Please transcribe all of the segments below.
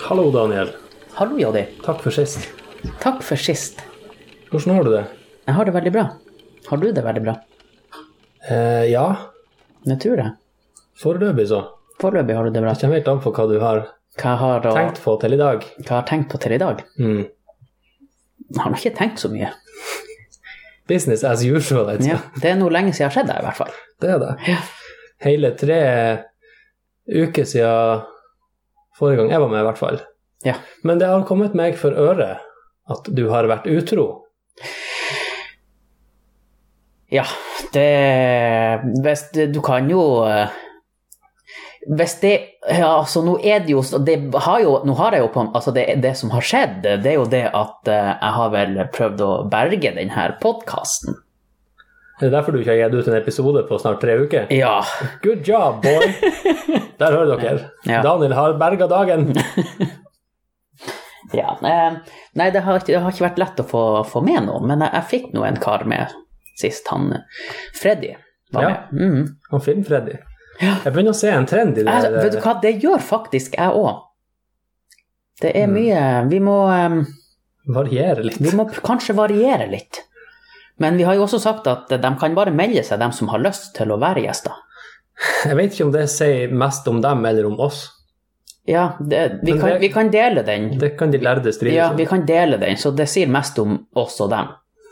Hallo, Daniel. Hallo, Joddi. Takk for sist. Takk for sist. Hvordan har du det? Jeg har det veldig bra. Har du det veldig bra? Eh, ja, Jeg tror det. foreløpig så. Foreløpig har du det bra. Det kommer helt an på hva du har Hva jeg har, og, tenkt på til i dag. hva jeg har tenkt på til i dag? Mm. Jeg har nå ikke tenkt så mye. Business as usual, altså. Ja, det er nå lenge siden jeg har sett deg, i hvert fall. Det er det. Ja. Hele tre uker siden forrige gang jeg var med, i hvert fall. Ja. Men det har kommet meg for øre at du har vært utro. Ja, det hvis, det- Du kan jo eh, Hvis det Ja, altså, nå er det jo så- det har jo, Nå har jeg jo på Altså, det, det som har skjedd, det er jo det at eh, jeg har vel prøvd å berge denne podkasten. Det er derfor du ikke har gitt ut en episode på snart tre uker. Ja. Good job, boy! Der hører dere. Ja. Daniel har berga dagen. ja. eh, Nei, det har, ikke- det har ikke vært lett å få, få med noe, men jeg, jeg fikk nå en kar med sist, han eh, Freddy var Ja. med. Mhm. Han Film-Freddy. Jeg begynner å se en trend i det. Jeg, vet du hva, det gjør faktisk jeg òg. Det er Mm. mye Vi må eh, Varierer litt. Vi må pr- kanskje variere litt. Men vi har jo også sagt at de kan bare melde seg, de som har lyst til å være gjester. Jeg vet ikke om det sier mest om dem eller om oss. Ja, det, vi, Men kan, det- vi kan dele den. Det kan de lærde stride Ja, om. vi kan dele den, så det sier mest om oss og dem.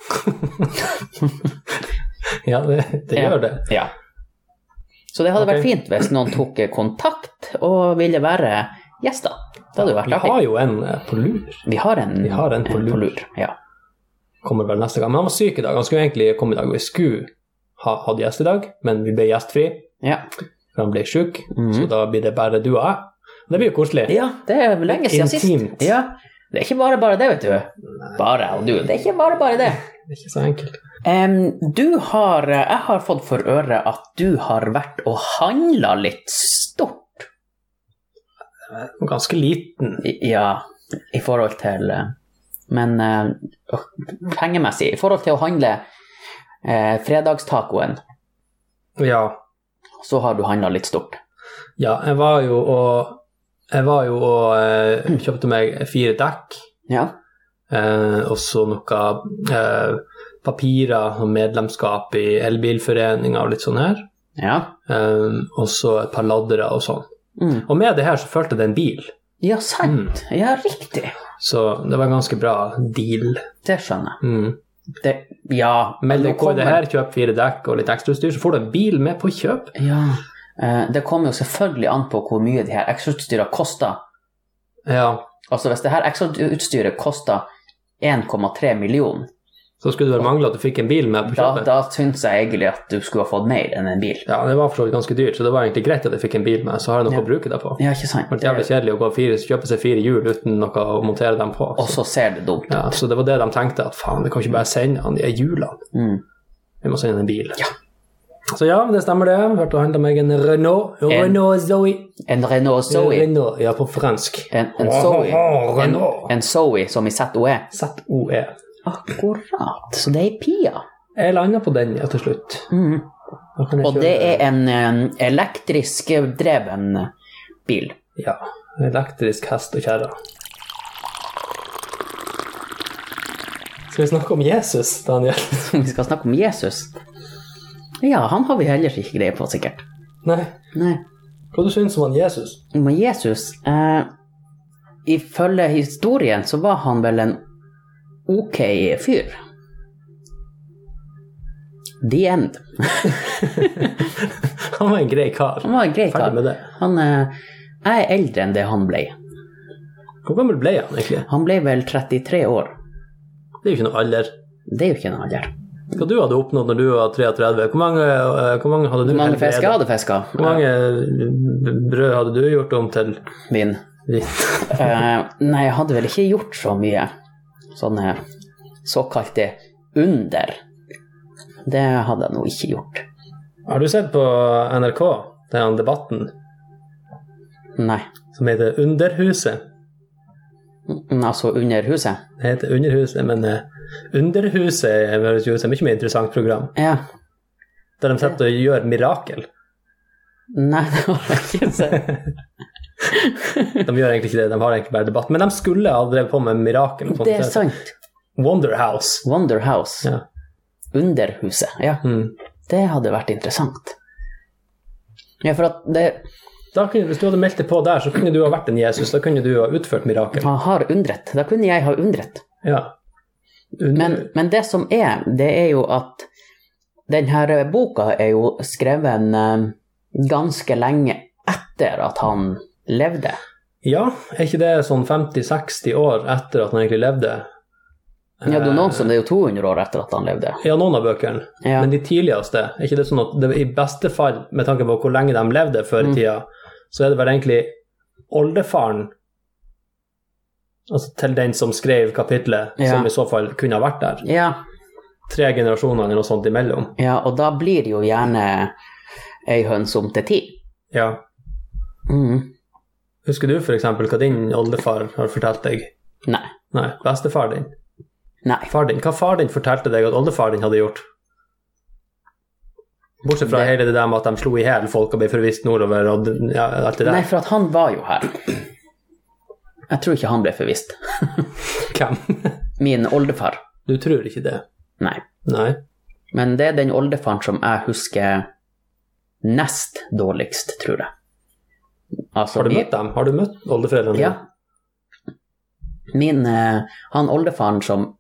Ja, det, det Ja. gjør det. Ja. Så det hadde Ok. vært fint hvis noen tok kontakt og ville være gjester. Det hadde jo vært Vi har artig. jo en eh, på lur. Vi har en, Vi har en på lur. Ja. Kommer vel neste gang. Men han var syk i dag. Han skulle egentlig komme i dag. Vi skulle ha hatt gjest i dag, men vi ble gjestfri. Ja. For han ble syk, Mhm. så da blir det bare du og jeg. Det blir jo koselig. ja, det er lenge siden sist. Intimt. Ja. Det er ikke bare bare det, vet du. Bare og du. Det er ikke bare bare det. Det er ikke så enkelt. Em, du har, jeg har fått for øre at du har vært og handla litt stort. Ganske liten. I- Ja, i forhold til eh, Men eh, øh, pengemessig, i forhold til å handle eh, fredagstacoen, Ja. så har du handla litt stort. ja. Jeg var jo og Jeg var jo og eh, kjøpte meg fire dekk. Ja. Eh, også noe eh, papirer og medlemskap i elbilforeninga og litt sånn her. Ja. Eh, og så et par laddere og sånn. Mm. Og med det her så fulgte det en bil, Ja, sant. Ja, riktig. så det var en ganske bra deal. Det skjønner jeg. Mm. Det, ja. Men nå det går kommer- det her, kjøp fire dekk og litt ekstrautstyr, så får du en bil med på kjøp. Ja. eh, det kommer jo selvfølgelig an på hvor mye de her ekstrautstyra koster. Ja, Altså hvis det her ekstrautstyret koster 1,3 millioner, så skulle det vel mangle at du fikk en bil med på da, kjøpet. da syns jeg egentlig at du skulle ha fått mer enn en bil. Ja, det var for så vidt ganske dyrt, så det var egentlig greit at jeg fikk en bil med, så har jeg noe Ja. å bruke det på. Ja, ikke sant? Det var jævlig kjedelig å gå fire, kjøpe seg fire hjul uten noe å montere dem på. Og så ser det dumt ut. Ja, så det var det de tenkte, at faen, vi kan ikke bare sende han de hjulene. Mm. Vi må sende han en bil. Så ja, det stemmer det. Jeg hørte å handle meg en Renault. En- Renault Zoe. En Renault Zoe. Renault, ja, på fransk. En, en Zoe. En, en Zoe som i ZOE. Z-O-E. Akkurat. Så det er ei Pia. E. Jeg landa på den ja, til slutt. Mm. Da kan jeg Og kjøre- det er en, en elektrisk dreven bil. Ja. Elektrisk hest og kjerre. Skal vi snakke om Jesus, Daniel? Vi skal snakke om Jesus. Ja, han har vi heller ikke greie på, sikkert. Nei. Nei. Hva du syns om han Jesus? Men Jesus, eh, ifølge historien så var han vel en ok fyr. The end. Han var en grei kar. Han var en grei Ferdig kar. med det. Han eh, jeg er eldre enn det han ble. Hvor gammel ble han egentlig? Han ble vel 33 år. Det er jo ikke noe alder. Det er jo ikke en alder. Hva du hadde oppnådd når du var 33? Hvor mange, eh, hvor mange hadde du Hvor mange helbredet? fisker jeg hadde fiska? Hvor mange eh, brød hadde du gjort om til Min. hvitt? Eh, nei, jeg hadde vel ikke gjort så mye sånn, sånne såkalte eh, under. Det hadde jeg nå ikke gjort. Har du sett på NRK den debatten Nei. som heter Underhuset? Mm, Altså under huset. Det heter Underhuset, men eh, Underhuset høres jo ut som et mye mer interessant program, Ja. der de sitter og gjør mirakel. Nei, det har jeg ikke sett. De gjør egentlig ikke det, de har egentlig bare debatt. Men de skulle ha drevet på med mirakel. og sånt. Det er sant. Wonder House. Wonder House. Ja. Underhuset. Ja, Mm. det hadde vært interessant. Ja, for at det Da kunne, hvis du hadde meldt deg på der, så kunne du ha vært en Jesus. Da kunne du ha utført mirakel. Han har undret. Da kunne jeg ha undret. Ja. Under- Men, men det som er, det er jo at denne boka er jo skrevet eh, ganske lenge etter at han levde. Ja, er ikke det sånn 50-60 år etter at han egentlig levde? Ja, det er noen som det er jo 200 år etter at han levde. Ja, noen av bøkene. Ja. Men de tidligste, er ikke det sånn at det, i beste fall, med tanke på hvor lenge de levde før i Mm. tida, så er det vel egentlig oldefaren altså til den som skrev kapitlet, Ja. som i så fall kunne ha vært der. Ja, Tre generasjoner eller noe sånt imellom. ja, og da blir det jo gjerne ei høns om til ti. Ja. Mm. Husker du f.eks. hva din oldefar har fortalt deg? Nei. Nei, bestefar din. Nei. Far din. Hva far din fortalte deg at oldefar din hadde gjort? Bortsett fra Det- hele det der med at de slo i hjel folk og ble forvist nordover og d- ja, alt det der. Nei, for at han var jo her. Jeg tror ikke han ble forvist. Hvem? Min oldefar. Du tror ikke det? Nei. Nei. Men det er den oldefaren som jeg husker nest dårligst, tror jeg. Altså, Har du min- møtt dem? Har du møtt oldeforeldrene Ja. Min, eh, han oldefaren som,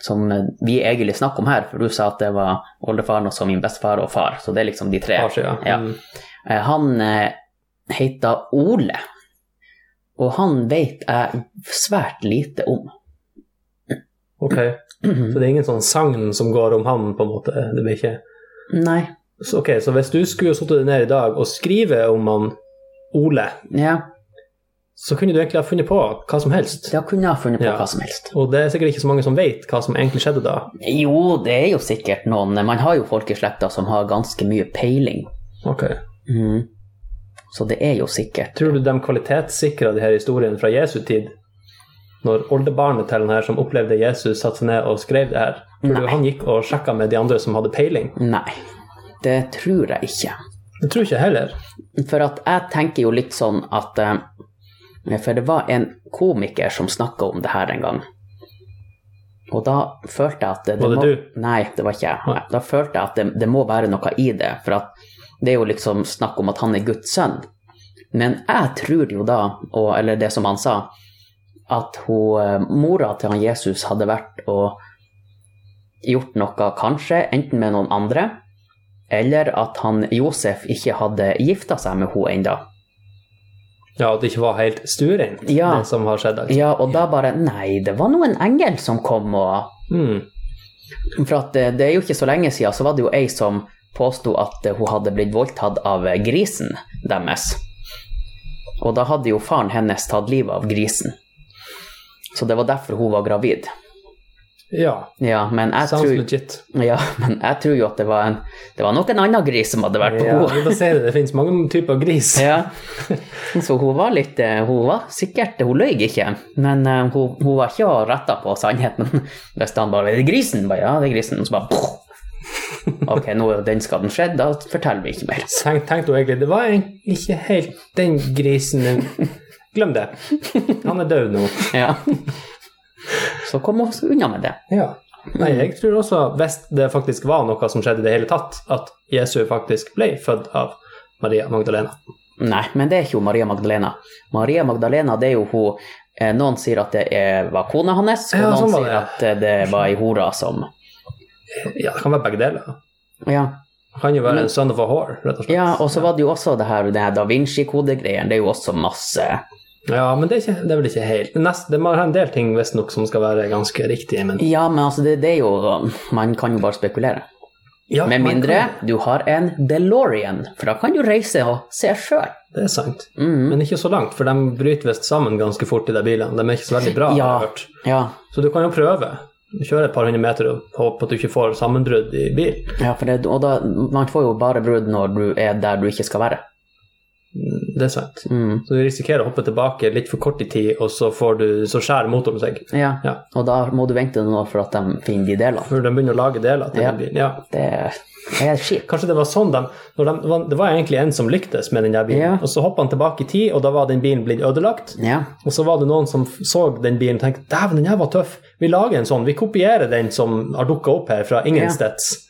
som eh, vi egentlig snakker om her, for du sa at det var oldefaren og så min bestefar og far, så det er liksom de tre. Par siden. Ja. Mm. Eh, Han eh, heter Ole, og han vet jeg svært lite om. Ok, så det er ingen sånn sagn som går om han, på en måte? Det blir ikke... Nei, Så, ok, så hvis du skulle sittet deg ned i dag og skrive om han Ole, ja, så kunne du egentlig ha funnet på hva som helst. da kunne jeg ha funnet på Ja. hva som helst. Og det er sikkert ikke så mange som vet hva som egentlig skjedde da. Jo, det er jo sikkert noen, man har jo folk i slekta som har ganske mye peiling. Ok. Mhm. Så det er jo sikkert. Tror du de kvalitetssikra de her historiene fra Jesu tid? Når oldebarnet til den her som opplevde Jesus, satte seg ned og skrev det her? Tror du han gikk og sjekka med de andre som hadde peiling? Nei, det tror jeg ikke. Det tror ikke jeg heller. For at jeg tenker jo litt sånn at eh, For det var en komiker som snakka om det her en gang. Og da følte jeg at det, Var det må, du? Nei, det var ikke jeg. Nei. Da følte jeg at det, det må være noe i det. For at det er jo liksom snakk om at han er Guds sønn. Men jeg tror jo da, og, eller det som han sa, at hun, eh, mora til han Jesus hadde vært og gjort noe, kanskje, enten med noen andre, eller at han Josef ikke hadde gifta seg med henne ennå. Ja, at det ikke var helt stuereint, Ja. det som har skjedd. altså. Ja, og da bare Nei, det var nå en engel som kom og Mm. For at eh, det er jo ikke så lenge siden så var det jo ei som påsto at eh, hun hadde blitt voldtatt av eh, grisen deres. Og da hadde jo faren hennes tatt livet av grisen. Så det var derfor hun var gravid. Ja, Ja, men jeg sounds tror, legit. ja, men jeg tror jo at det var en Det var nok en annen gris som hadde vært på Ja, henne. da ser du, det finnes mange typer gris. Ja. Så hun var litt eh, Hun var sikkert Hun løy ikke, men eh, hun, hun var ikke retta på sannheten. Hvis han bare Er det grisen? Bare, ja, det er grisen. Og så bare «Puff!» Ok, nå er jo den skaden skjedd, da forteller vi ikke mer. Tenk, tenkte hun egentlig, det var en- ikke helt den grisen den- Glem det. Han er død nå. Ja. Så kom hun unna med det. Ja. Nei, jeg tror også, hvis det faktisk var noe som skjedde i det hele tatt, at Jesu faktisk ble født av Maria Magdalena. Nei, men det er ikke jo Maria Magdalena. Maria Magdalena, det er jo hun eh, Noen sier at det er, var kona hans, og Ja, noen sånn var sier det. at eh, det var ei hora som Ja, det kan være begge deler. Ja. Det kan jo være en son of a whore, rett og slett. ja og så var det jo også det her, det her da Vinci-kodegreien. Det er jo også masse Ja, men det er, ikke, det er vel ikke helt Nest, Det må ha en del ting visstnok som skal være ganske riktige, men Ja, men altså, det, det er jo Man kan jo bare spekulere. ja, Med man mindre kan- du har en DeLorean, for da kan du reise og se sjøl. Det er sant. Mm. Men ikke så langt, for de bryter visst sammen ganske fort i de bilene. De er ikke så veldig bra, Ja. har jeg hørt. Ja. Så du kan jo prøve. Kjøre et par hundre meter og håpe at du ikke får sammenbrudd i bil. ja, for det, og da, man får jo bare brudd når du er der du ikke skal være. Det er sant. Mm. Så du risikerer å hoppe tilbake litt for kort i tid, og så, får du, så skjærer motoren seg. Ja. Ja. Og da må du vente noen år for at de finner de delene. Før de begynner å lage deler til Ja. den bilen. Ja. Det er skip. Kanskje det var sånn de, når de Det var egentlig en som lyktes med den der bilen, Ja. og så hoppa han tilbake i tid, og da var den bilen blitt ødelagt. Ja. Og så var det noen som f- så den bilen og tenkte dæven, den her var tøff, vi lager en sånn, vi kopierer den som har dukka opp her fra ingensteds,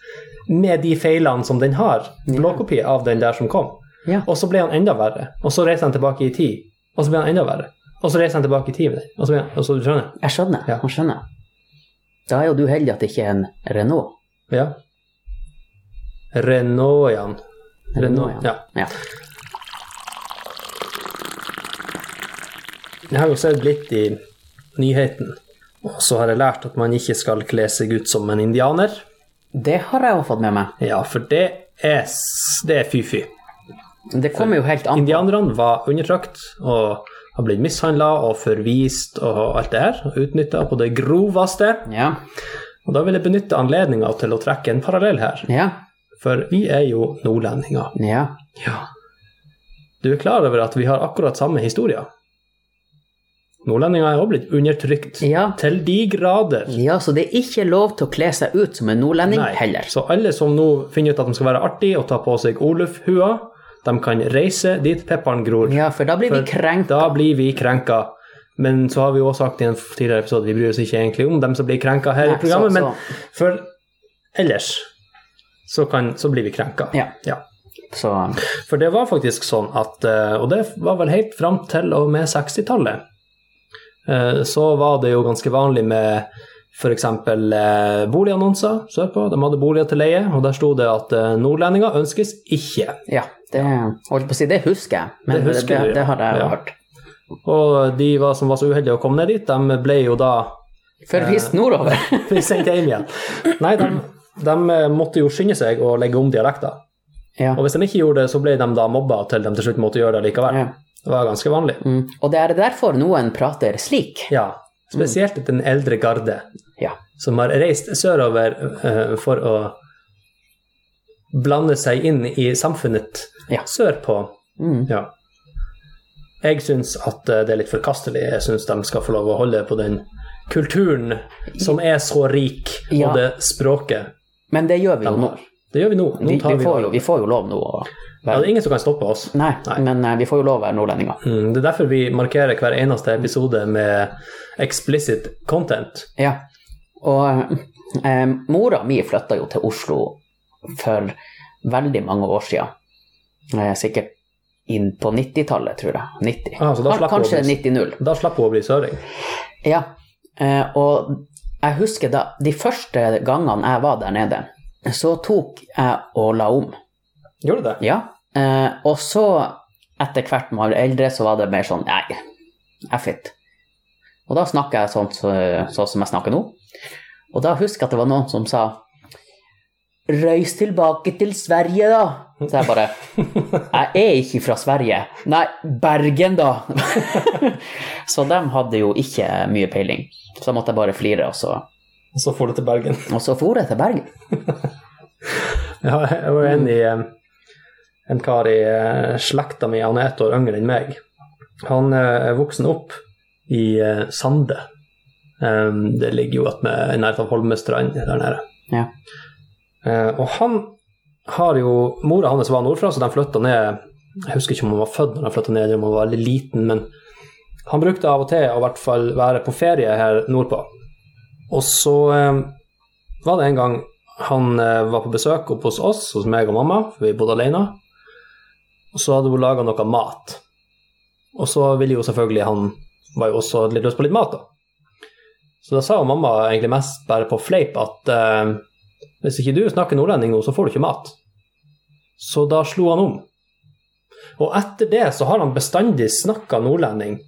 med de feilene som den har, blåkopi av den der som kom. Ja. Og så ble han enda verre, og så reiser han tilbake i tid, og så ble han enda verre, og så reiser han tilbake i tid med den, og så, ble han, og så du skjønner? Jeg skjønner. Ja. Jeg skjønner. Da er jo du heldig at det ikke er en Renault. Ja. Renault, Jan. Renault, Renault, ja. Ja. Jeg har jo sett litt i nyheten, og så har jeg lært at man ikke skal kle seg ut som en indianer. Det har jeg jo fått med meg. Ja, for det er, s- det er fy-fy. Det kommer jo helt an på. Indianerne var undertrykt og har blitt mishandla og forvist og alt det her, og utnytta på det groveste. Ja. Og da vil jeg benytte anledninga til å trekke en parallell her, Ja. for vi er jo nordlendinger. Ja. Ja. Du er klar over at vi har akkurat samme historie? Nordlendinger er òg blitt undertrykt. Ja. Til de grader. ja, så det er ikke lov til å kle seg ut som en nordlending heller. Så alle som nå finner ut at de skal være artige og ta på seg Oluf-hua, de kan reise dit pepperen gror. Ja, for da blir vi For krenkt. Da blir vi krenka. Men så har vi jo også sagt i en tidligere episode vi bryr oss ikke egentlig om dem som blir krenka her Nei, i programmet, så- men så- for ellers så, kan, så blir vi krenka. Ja. Så For det var faktisk sånn at eh, Og det var vel helt fram til og med 60-tallet. eh, Så var det jo ganske vanlig med f.eks. boligannonser sørpå. De hadde boliger til leie, og der sto det at eh, nordlendinger ønskes ikke. ja, det holdt på å si, det husker jeg. Men Det det, husker det, du, ja. det, har jeg Ja. hørt. Og de var, som var så uheldige å komme ned dit, de ble jo da Forvist nordover. bli sendt hjem igjen. Nei, de, de måtte jo skynde seg å legge om dialekter. ja. Og hvis de ikke gjorde det, så ble de da mobba til de til slutt måtte gjøre det likevel. ja. Det var ganske vanlig. Mm. Og det er derfor noen prater slik. Ja, spesielt den eldre garde Ja. som har reist sørover eh, for å blande seg inn i samfunnet Ja. sørpå. Mm. Ja. Jeg syns at eh, det er litt forkastelig. Jeg syns de skal få lov å holde på den kulturen som er så rik, Ja. og det språket Men det gjør vi jo nå. Det gjør vi nå. nå Vi, tar vi, vi, får, jo, vi får jo lov nå å Ja, det er ingen som kan stoppe oss. Nei, Nei. men eh, vi får jo lov å være nordlendinger. Mm, Det er derfor vi markerer hver eneste episode med explicit content. Ja. Og eh, mora mi flytta jo til Oslo for veldig mange år siden. Eh, sikkert inn på 90-tallet, tror jeg. 90. Ah, så da slapp hun Kanskje å bli- 90-0. Da slapp hun å bli søring. Ja. Eh, og jeg husker da de første gangene jeg var der nede, så tok jeg og la om. Gjorde du det? Ja. Eh, og så, etter hvert man ble eldre, så var det mer sånn Nei, f it. Og da snakker jeg sånn så- sånn som jeg snakker nå. Og da husker jeg at det var noen som sa Røys tilbake til Sverige, da! Så jeg bare Jeg er ikke fra Sverige. Nei, Bergen, da! så de hadde jo ikke mye peiling. Så da måtte jeg bare flire, og så, Og så får du til Bergen. og så for jeg til Bergen. Ja, jeg var enig i eh, en kar i eh, slekta mi, han er ett år yngre enn meg. Han eh, er voksen opp i eh, Sande. Um, Det ligger jo attmed i nærheten av Holmestrand der nede. Ja. Eh, Og han har jo Mora hans var nordfra, så de flytta ned Jeg husker ikke om hun var født når de flytta ned, eller om hun var veldig liten, men han brukte av og til å i hvert fall være på ferie her nordpå. Og så eh, var det en gang han eh, var på besøk oppe hos oss, hos meg og mamma, for vi bodde alene. Og så hadde hun laga noe mat. Og så ville jo selvfølgelig han var jo også litt lyst på litt mat, da. Så da sa jo mamma egentlig mest bare på fleip at eh, hvis ikke du snakker nordlending nå, så får du ikke mat. Så da slo han om. Og etter det så har han bestandig snakka nordlending.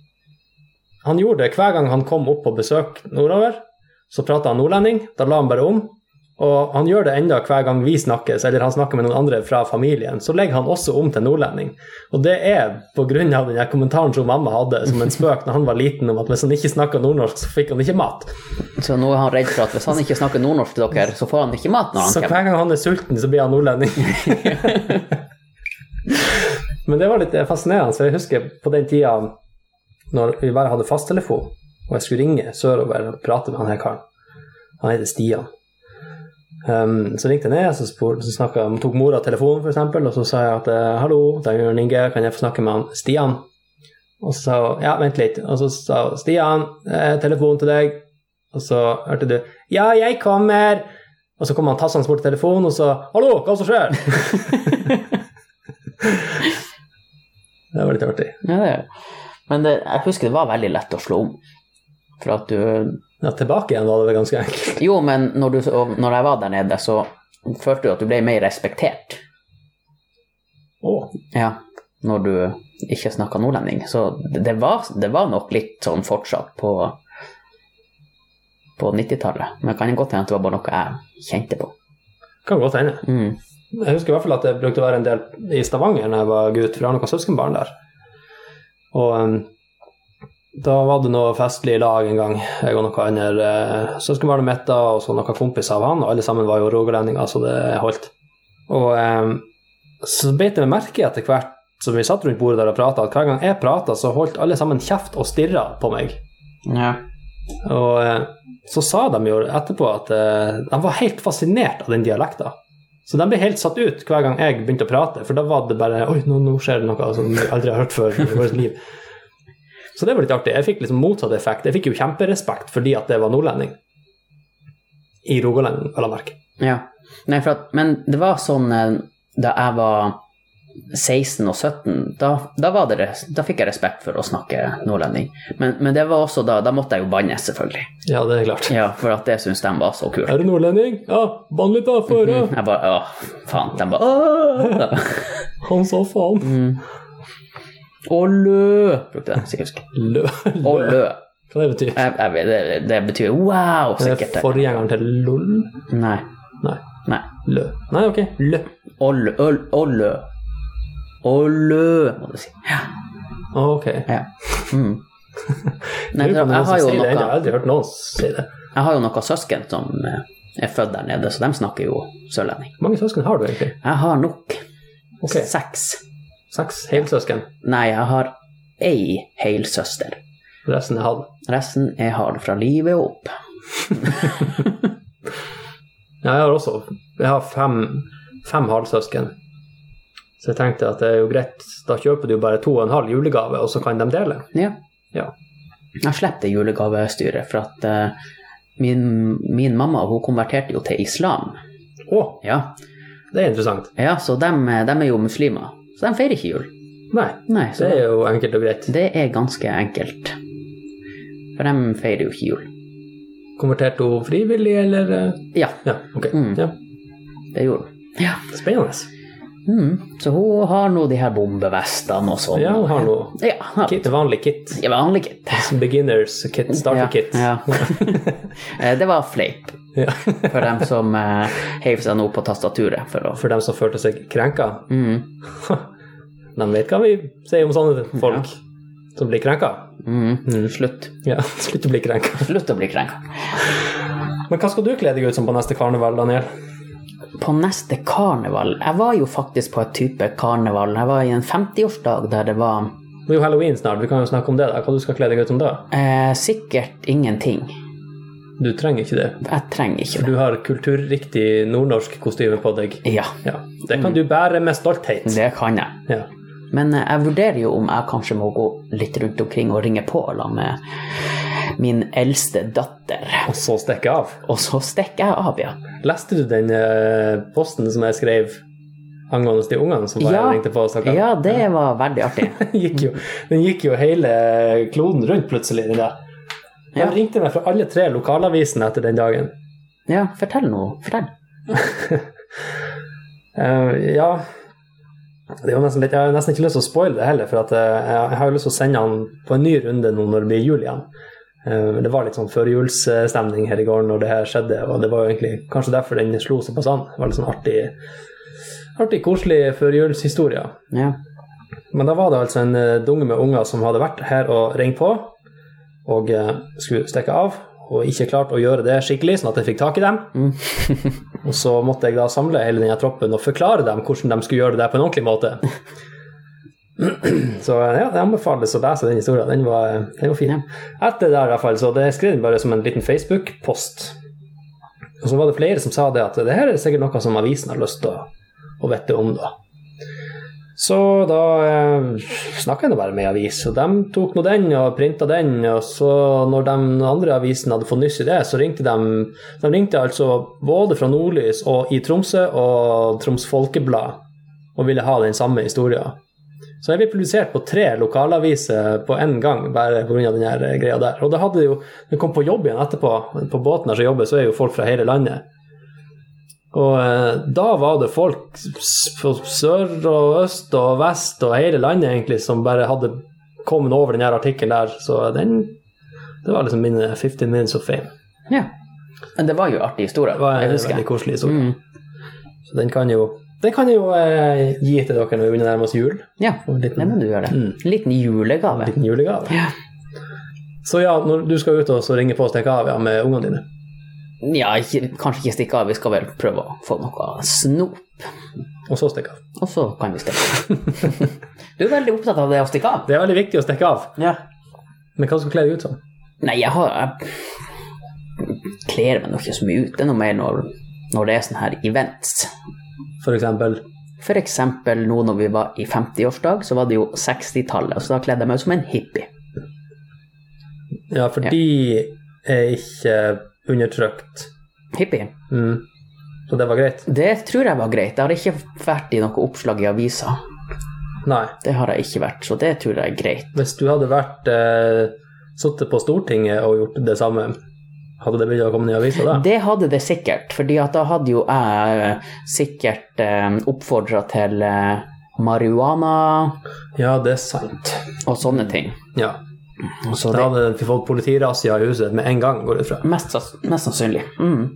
Han gjorde det hver gang han kom opp på besøk nordover. Så prata han nordlending, da la han bare om. Og han gjør det enda hver gang vi snakkes, eller han snakker med noen andre fra familien, så legger han også om til nordlending. Og det er på grunn av den her kommentaren som mamma hadde som en spøk når han var liten, om at hvis han ikke snakka nordnorsk, så fikk han ikke mat. Så nå er han redd for at hvis han ikke snakker nordnorsk til dere, så får han ikke mat når han Så kommer. hver gang han er sulten, så blir han nordlending. Men det var litt eh, fascinerende. så Jeg husker på den tida når vi bare hadde fasttelefon, og jeg skulle ringe sørover og prate med han her karen. Han heter Stian. Um, så ringte jeg ned, så, spor, så snakket, tok mora telefonen, for eksempel, og så sa jeg at eh, hallo, det er Jørn Inge, kan jeg få snakke med han Stian? Og så sa hun ja, vent litt. Og så sa hun Stian, eh, telefonen til deg. Og så hørte du ja, jeg kommer. Og så kom han tassende bort til telefonen og sa hallo, hva som skjer? det var litt artig. Ja, det er. Men det, jeg husker det var veldig lett å slå om. For at du Ja, tilbake igjen var det vel ganske enkelt. Jo, men når, du, og når jeg var der nede, så følte du at du ble mer respektert. Å, Ja. Når du ikke snakka nordlending. Så det det var, det var nok litt sånn fortsatt på på 90-tallet. Men det kan godt hende at det var bare noe jeg kjente på. kan godt hende. Mm. Jeg husker i hvert fall at det brukte å være en del i Stavanger når jeg var gutt, for jeg har noen søskenbarn der. Og em, da var det noe festlig lag en gang, jeg og noen andre eh, søskenbarnet mitt da, og så noen kompiser av han, og alle sammen var jo rogalendinger, så det holdt. Og em, så beit jeg meg merke i etter hvert som vi satt rundt bordet der og prata, at hver gang jeg prata, så holdt alle sammen kjeft og stirra på meg. Ja. Og eh, så sa de jo etterpå at eh, de var helt fascinert av den dialekta. Så de ble helt satt ut hver gang jeg begynte å prate, for da var det bare Oi, nå, nå skjer det noe som vi aldri har hørt før i vårt liv. Så det var litt artig. Jeg fikk liksom motsatt effekt. Jeg fikk jo kjemperespekt fordi at det var nordlending. I Rogaland, vel å merke. ja. Nei, for at, men det var sånn eh, da jeg var 16 og 17, da, da, var det, res- da fikk jeg respekt for å snakke nordlending. Men, men det var også da Da måtte jeg jo banne, selvfølgelig. Ja, det er klart. Ja, for at det syntes de var så kult. Er du nordlending? Ja, bann litt, da, for Mm, Jeg bare Åh, faen. De bare Åh! Han sa faen. Mm. Ålø, brukte jeg sikkert. huske. Lø. Ålø. Hva det betyr Jeg, jeg, vet- det, det betyr wow, Er det? sikkert. Forgjengeren til lol? Nei. Nei. Nei. Lø. Nei, ok. Lø. Ålø. øl- Ålø. Ålø, må du si. Ja. Ok. ja. Mm. Lurer Nei, på om jeg, jeg, noen som har jo sier det ennå. Jeg har noe, aldri hørt noen si det. jeg har jo noen søsken som eh, er født der nede, så de snakker jo sørlending. Hvor mange søsken har du egentlig? Jeg har nok Ok. seks. Seks helsøsken. Nei, jeg har ei helsøster. Resten er halv. Resten er hard fra livet opp. Ja, jeg har også jeg har fem, fem halvsøsken. Så jeg tenkte at det er jo greit, da kjøper du bare to og en halv julegave, og så kan de dele. Ja. Ja. Jeg slapp det julegavestyret, for at eh, min, min mamma hun konverterte jo til islam. Å, Ja, det er interessant. ja så dem, eh, dem er jo muslimer. Så de feirer ikke jul. Nei, Nei, så det er jo enkelt og greit. det er ganske enkelt. For de feirer jo ikke jul. Konverterte hun frivillig, eller eh? Ja, Ja, ok. Mm. Ja. det gjorde hun. Ja. Spennende. Mm. Så hun har nå de her bombevestene og sånn. Ja, hun har noe Ja, ja. kit, vanlig kit. Ja, vanlig kit. Beginners kit, starter kit. Ja, ja. Eh, det var fleip Ja. for dem som eh, heiv seg nå på tastaturet for å For dem som følte seg krenka, Mm. De vet hva vi sier om sånne folk som blir krenka. Mm. Slutt. Ja, slutt å bli krenka. Slutt å bli krenka. Men hva skal du kle deg ut som på neste karneval, Daniel? På neste karneval Jeg var jo faktisk på et type karneval. Jeg var i en 50-årsdag der det var Det er jo halloween snart, vi kan jo snakke om det. da. Hva du skal kle deg ut som da? eh, sikkert ingenting. Du trenger ikke det. Jeg trenger ikke det. Du har kulturriktig nordnorsk kostyme på deg. Ja, Ja, Det kan du bære med stolthet. det kan jeg. Mm. Ja. Men eh, jeg vurderer jo om jeg kanskje må gå litt rundt omkring og ringe på sammen med min eldste datter. Og så stikke av. Og så stikker jeg av, ja. Leste du den eh, posten som jeg skrev angående de ungene som bare Ja. ringte på og snakka? Ja, det var veldig artig. gikk jo, den gikk jo hele kloden rundt plutselig, den der. De Ja. ringte meg fra alle tre lokalavisene etter den dagen. Ja, fortell nå. Fortell. Eh, ja det er jo nesten litt, Jeg har nesten ikke lyst til å spoile det heller, for at, eh, jeg har jo lyst til å sende han på en ny runde nå når det blir jul igjen. Eh, det var litt sånn førjulsstemning her i går når det her skjedde, og det var jo egentlig kanskje derfor den slo såpass an. Det var litt sånn artig, artig koselig førjulshistorie. Ja. Men da var det altså en eh, dunge med unger som hadde vært her og ringt på, og eh, skulle stikke av, og ikke klart å gjøre det skikkelig, sånn at jeg fikk tak i dem. Mm. Og så måtte jeg da samle hele denne troppen og forklare dem hvordan de skulle gjøre det der på en ordentlig måte. Så eh, ja, det anbefales å lese den historien. Den var, eh, den var fin. Etter det der i hvert fall, så det skrev den bare som en liten Facebook-post. Og så var det flere som sa det at det her er sikkert noe som avisen har lyst til å, å vite om, da. Så da eh, snakka jeg nå bare med ei avis, og de tok nå den og printa den. Og så når de andre avisen hadde fått nyss i det, så ringte de De ringte altså både fra Nordlys og i Tromsø og Troms Folkeblad og ville ha den samme historien. Så jeg ble publisert på tre lokalaviser på én gang bare pga. den her greia der. Og da hadde jo, når jeg kom på jobb igjen etterpå, på båten der som jobber, så er jo folk fra hele landet. Og eh, da var det folk s- fra sør og øst og vest og hele landet egentlig som bare hadde kommet over den her artikkelen der, så den Det var liksom mine 15 minutes of fame. Ja. Men det var jo artig historie. Det var jeg en husker. veldig koselig historie. Mm. Så den kan jo, den kan jeg jo eh, gi til dere når vi begynner å nærme oss jul. Ja, Og en det liten, må du gjøre. Mm. En liten julegave. liten julegave. Ja. Så ja, når du skal ut og så ringe på og stikke av ja, med ungene dine. Ja, ikke, kanskje ikke stikke av. Vi skal vel prøve å få noe snop, Og så stikke av. og så kan vi stikke av. du er veldig opptatt av det å stikke av. Det er veldig viktig å stikke av. Men hva skal du kle deg ut som? Nei, jeg har jeg kler meg nå ikke så mye ut. Det er noe mer når, når det er sånne her events. For eksempel For eksempel nå når vi var i 50-årsdag, så var det jo 60-tallet, så da kledde jeg meg ut som en hippie. Ja, for Ja. de er ikke undertrykt. Hippie? Mm. Så det var greit? Det tror jeg var greit. Det har ikke vært i noe oppslag i avisa. Nei. Det har jeg ikke vært, så det tror jeg er greit. Hvis du hadde vært eh, sittet på Stortinget og gjort det samme, hadde det begynt å komme ned i avisa da? Det hadde det sikkert, fordi at da hadde jo jeg eh, sikkert eh, oppfordra til eh, marihuana Ja, det er sant. og sånne ting. Ja. Så Da det hadde vi fått politirazzia i huset med en gang, går det fra. mest, sanns- mest sannsynlig. Mm.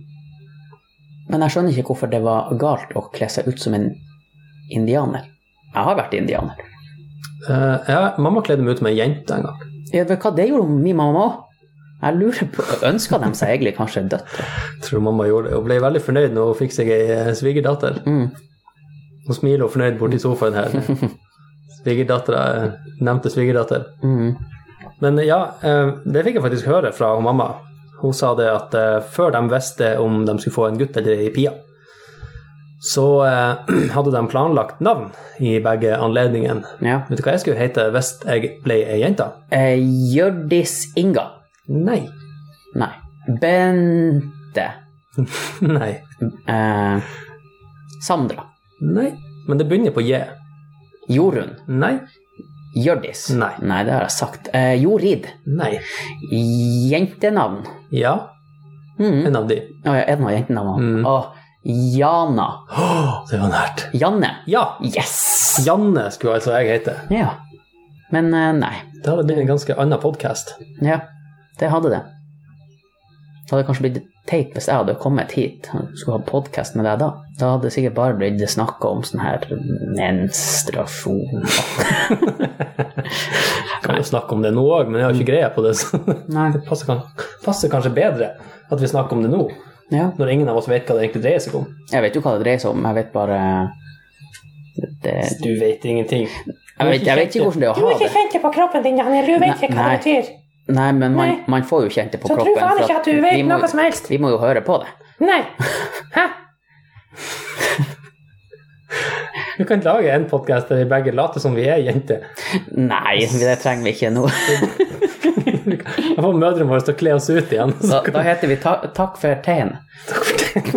Men jeg skjønner ikke hvorfor det var galt å kle seg ut som en indianer. Jeg har vært indianer. Eh, ja, mamma kledde meg ut som ei jente en gang. Jeg vet hva, det gjorde min mamma òg. Jeg lurer på Ønska de seg egentlig kanskje døtre? Jeg tror mamma gjorde det. Hun ble veldig fornøyd når hun fikk seg ei eh, svigerdatter. Mm. Hun smiler og er fornøyd borti sofaen her. Svigerdattera eh, nevnte svigerdatter. Mm. Men ja, eh, det fikk jeg faktisk høre fra hun mamma. Hun sa det at eh, før de visste om de skulle få en gutt eller ei pia, så eh, hadde de planlagt navn i begge anledningene. Ja. Vet du hva jeg skulle hete hvis jeg ble ei jente? Eh, Hjørdis Inga. Nei. Nei. Bente. Nei. Eh, Sandra. Nei. Men det begynner på J. Jorunn. Nei. Hjørdis. Nei. det har jeg sagt. Eh, Jorid. Nei. Jentenavn. Ja, Mm. en av de. Å, ja, er det noe jentenavn? Mm. Å, Jana. Åh, det var nært. Janne. Ja, Yes! Janne skulle altså jeg hete. Ja. Men eh, nei. Det hadde blitt en ganske annen podkast. Ja, det hadde det. Det hadde kanskje blitt teit hvis jeg hadde kommet hit og skulle ha podkast med deg da. Da hadde det sikkert bare blitt snakka om sånn her menstruasjon. Kan jo snakke om det nå òg, men jeg har ikke greie på det. Så Nei. det passer, kan, passer kanskje bedre at vi snakker om det nå, Ja. når ingen av oss vet hva det egentlig dreier seg om. Jeg vet jo hva det dreier seg om, jeg vet bare det, Du vet ingenting. jeg, vet, jeg vet ikke hvordan det er Du å har ha ikke det. kjent det på kroppen din, Daniel. Du vet ikke hva Nei. det betyr. Nei, men man, Nei. man får jo kjent det på Så tro kroppen. faen for ikke at du vet vi må, noe som helst. Vi må jo høre på det. Nei. Hæ? Du kan lage en podkast der vi begge later som vi er jenter. Nei, det trenger vi ikke nå. Jeg får mødrene våre til å kle oss ut igjen. Da, da heter vi ta, Takk for teen.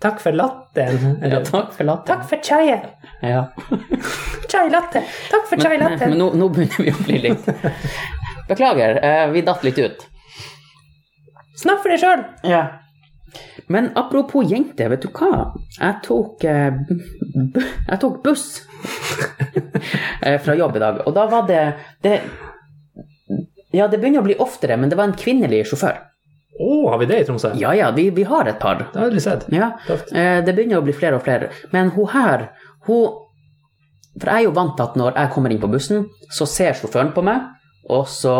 Takk for latteren. Ja, Eller, takk for latteren. Takk for chaien. Ja. Chai latte. Takk for chai latte. Men nå, nå begynner vi å bli litt Beklager, eh, vi datt litt ut. Snakk for deg sjøl. Men apropos jenter, vet du hva? Jeg tok, eh, b jeg tok buss eh, fra jobb i dag, og da var det, det Ja, det begynner å bli oftere, men det var en kvinnelig sjåfør. Å, har vi det i Tromsø? Ja ja, vi, vi har et par. Det har jeg aldri sett. Ja, Tøft. eh, det begynner å bli flere og flere. Men hun her, hun For jeg er jo vant til at når jeg kommer inn på bussen, så ser sjåføren på meg, og så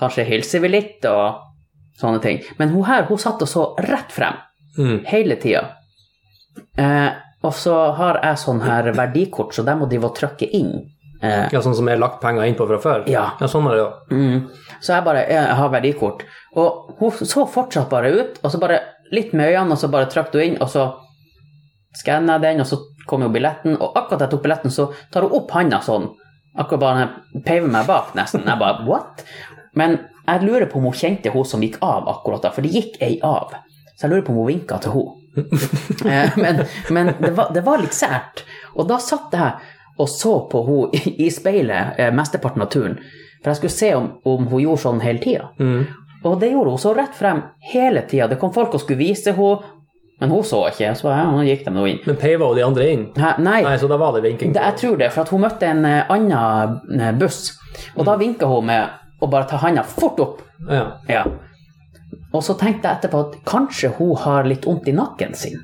kanskje hilser vi litt og sånne ting. Men hun her, hun satt og så rett frem Mm. hele tida. Eh, Og så har jeg sånn her verdikort, så der må de jo trykke inn. Eh, Ja, sånn som jeg har lagt penger inn på fra før? ja. sånn er det jo. Mm. Så jeg bare jeg har verdikort. Og hun så fortsatt bare ut, og så bare litt med øynene, og så bare trykte hun inn, og så skanna jeg den, og så kom jo billetten, og akkurat jeg tok billetten, så tar hun opp handa sånn. Akkurat bare hun peiver meg bak, nesten. Jeg bare what? Men jeg lurer på om hun kjente hun som gikk av akkurat da, for det gikk ei av. Så jeg lurer på om hun vinka til hun. Eh, men men det, var, det var litt sært. Og da satt jeg og så på hun i, i speilet eh, mesteparten av turen. For jeg skulle se om, om hun gjorde sånn hele tida. Mm. Og det gjorde hun. Så rett frem hele tida. Det kom folk og skulle vise henne, men hun så ikke. Så ja, nå gikk de nå inn. Men peiva og de andre inn? Hæ, Nei, Nei, så da var det vinking. det, jeg tror det, for at hun møtte en eh, annen eh, buss. Og da vinka hun med å bare ta handa fort opp. Ja. Ja. Og så tenkte jeg etterpå at kanskje hun har litt vondt i nakken sin.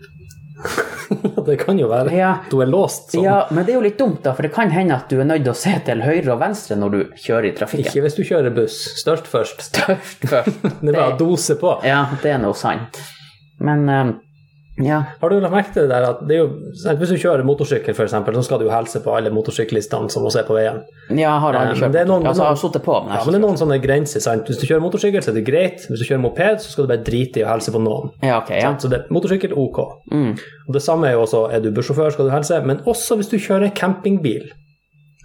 Det kan jo være. Ja. Du er låst sånn. Ja, men det er jo litt dumt, da, for det kan hende at du er nødt til å se til høyre og venstre når du kjører i trafikken. Ikke hvis du kjører buss. Størst først. Først, først. Det er bare å dose på. Ja, det er nå sant. Men eh, ja. Har du lagt merke til det der at det er jo, sant, hvis du kjører motorsykkel, for eksempel, så skal du jo helse på alle motorsyklistene som må se på veien. Ja, jeg har Eh, aldri men kjørt. det er noen- altså, jeg har sittet på, men jeg Ja, har men ikke det er noen sånne grenser, sant. Hvis du kjører motorsykkel, så er det greit. Hvis du kjører moped, så skal du bare drite i å helse på noen. Ja, ok, ja. Så det, motorsykkel, ok. Mm. Og det samme er jo også, er du bussjåfør, skal du helse, men også hvis du kjører campingbil.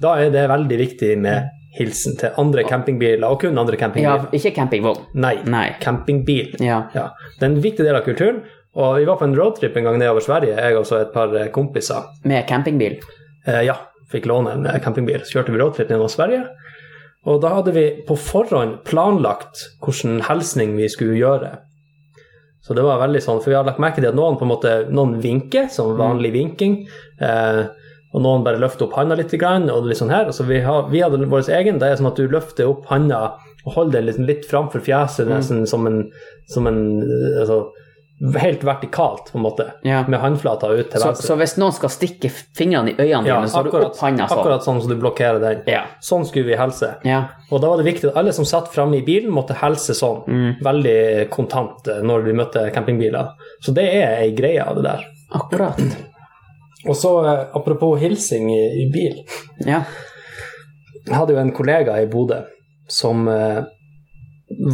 Da er det veldig viktig med hilsen til andre campingbiler, og kun andre ja. campingbiler. Ikke campingvogn. Nei, Nei. campingbil. Ja. Ja. Det er en viktig del av kulturen, og vi var på en roadtrip en gang nedover Sverige, jeg og så et par eh, kompiser. Med campingbil. Eh, ja, fikk låne en eh, campingbil, så kjørte vi roadtrip nedover Sverige. Og da hadde vi på forhånd planlagt hvilken hilsning vi skulle gjøre. Så det var veldig sånn, for vi har lagt merke til at noen på en måte, noen vinker, som vanlig vinking, eh, og noen bare løfter opp handa litt, grann, og litt sånn her. Altså, vi, har, vi hadde vår egen, det er sånn at du løfter opp handa og holder den liksom litt framfor fjeset, nesten som en, som en eh, altså, helt vertikalt, på en måte, Ja. med håndflata ut til Så, venstre. så hvis noen skal stikke fingrene i øynene ja, dine, så har du akkurat, opp handa sånn. akkurat sånn som du blokkerer den. Ja. Sånn skulle vi helse. Ja. Og da var det viktig at alle som satt framme i bilen, måtte helse sånn. Mm. Veldig kontant eh, når vi møtte campingbiler. Så det er ei greie av det der. Akkurat. Og så eh, apropos hilsing i, i bil. Ja. Jeg hadde jo en kollega i Bodø som eh,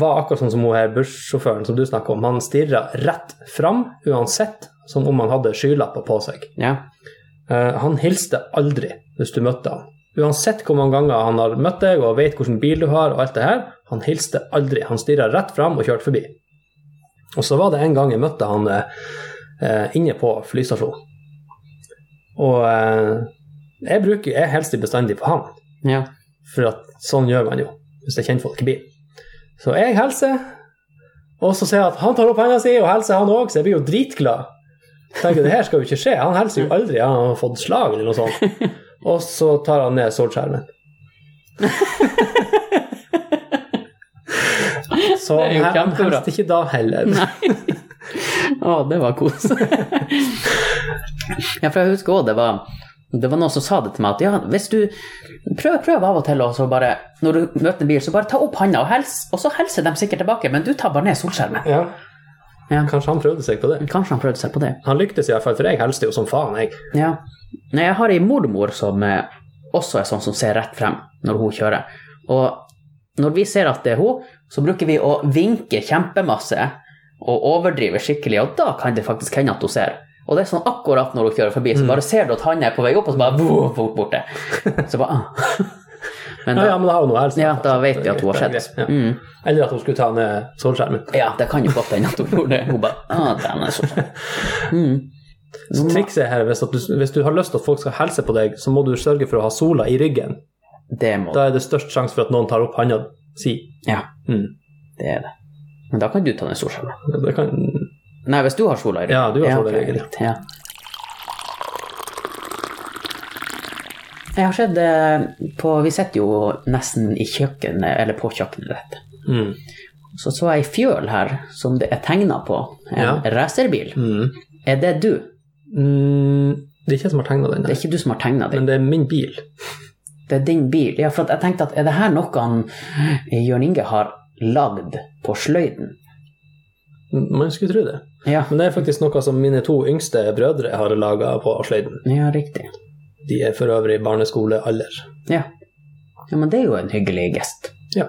var akkurat sånn som hun her bussjåføren som du snakker om. Han stirra rett fram uansett, som om han hadde skylapper på seg. Ja. Eh, han hilste aldri hvis du møtte han. Uansett hvor mange ganger han har møtt deg og vet hvilken bil du har, og alt det her, han hilste aldri. Han stirra rett fram og kjørte forbi. Og så var det en gang jeg møtte han eh, eh, inne på flystasjonen. Og eh, jeg bruker jeg hilser bestandig på han, Ja. for at sånn gjør man jo hvis det er kjentfolk i bilen. Så jeg hilser, og så ser jeg at han tar opp handa si og hilser han òg, så jeg blir jo dritglad. Tenker det her skal jo ikke skje, han hilser jo aldri, han har fått slag eller noe sånt. Og så tar han ned solskjermen. Så Det er jo han kjempebra. hilste ikke da heller. Å, det var kos. ja, for jeg husker òg det var det var noen som sa det til meg at ja, hvis du prøv, prøv av og til og så bare, når du møter en bil, så bare ta opp handa og hils, og så hilser de sikkert tilbake, men du tar bare ned solskjermen. Ja. Ja. Kanskje han prøvde seg på det. Kanskje han prøvde seg på det. Han lyktes i hvert fall, for jeg hilste jo som faen, jeg. Ja. Nei, jeg har ei mormor som eh, også er sånn som ser rett frem når hun kjører. Og når vi ser at det er hun, så bruker vi å vinke kjempemasse og overdrive skikkelig, og da kan det faktisk hende at hun ser. Og det er sånn akkurat når hun kjører forbi, Mm. så bare ser du at han er på vei opp, og så bare voo, fort borte. Så bare ah. Men Ja, da, ja, men da har hun hilst. ja, da vet vi at hun har sett. Ja. Mm. Eller at hun skulle ta ned solskjermen. Ja, det kan jo godt hende at hun gjorde det. Hun bare ah, dæven, så mm. Så trikset her, hvis, at du, hvis du har lyst til at folk skal helse på deg, så må du sørge for å ha sola i ryggen. Det må Da er det størst sjanse for at noen tar opp handa si. Ja, Mm. det er det. Men da kan du ta den solskjermen. Det kan, Nei, hvis du har sola i ryggen. Ja, du har sola i ok, ryggen, ja. riktig, Ja. Jeg har sett eh, på Vi sitter jo nesten i kjøkkenet, eller på kjøkkenet ditt. mm. Så så jeg ei fjøl her som det er tegna på. En Ja. racerbil. Mm. Er det du? Mm. Det er ikke jeg som har tegna den, Det er der, ikke du som har tegna den. men det er min bil. Det er din bil. Ja, for at jeg tenkte at er det eh, her noe han, Jørn Inge har lagd på sløyden? Man skulle tro det. Ja, Men det er faktisk noe som mine to yngste brødre har laga på sløyden. ja riktig. De er for øvrig barneskolealder. Ja. ja, men det er jo en hyggelig gest. Ja,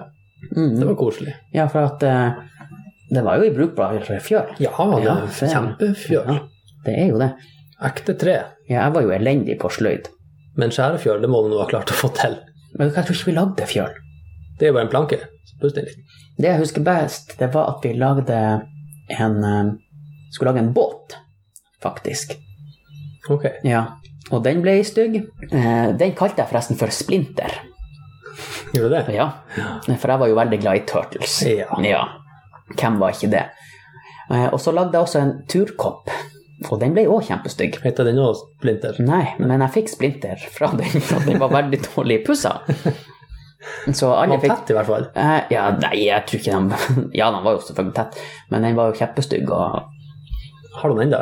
det Mm. var koselig. Ja, for at eh, det var jo i brukbar fjør. Ja, det Ja, er faen. kjempefjør. Ja, det er jo det. Ekte tre. Ja, jeg var jo elendig på sløyd. Men skjærefjør, det må du nå ha klart å få til. Men jeg tror ikke vi lagde fjøl. Det er jo bare en planke. så Pust inn litt. Det jeg husker best, det var at vi lagde en eh, Skulle lage en båt, faktisk. Ok. Ja. Og den ble stygg. Eh, Den kalte jeg forresten for Splinter. Gjør du det? Ja. For jeg var jo veldig glad i Turtles. Ja. Ja. Hvem var ikke det? Eh, Og så lagde jeg også en turkopp, og den ble òg kjempestygg. Heter den òg Splinter? Nei, men jeg fikk splinter fra den, og den var veldig dårlig pussa. Så alle Han fikk tett, i hvert fall. Eh, ja, nei, jeg tror ikke den Ja, den var jo selvfølgelig tett, men den var jo kjempestygg, og Har du den ennå?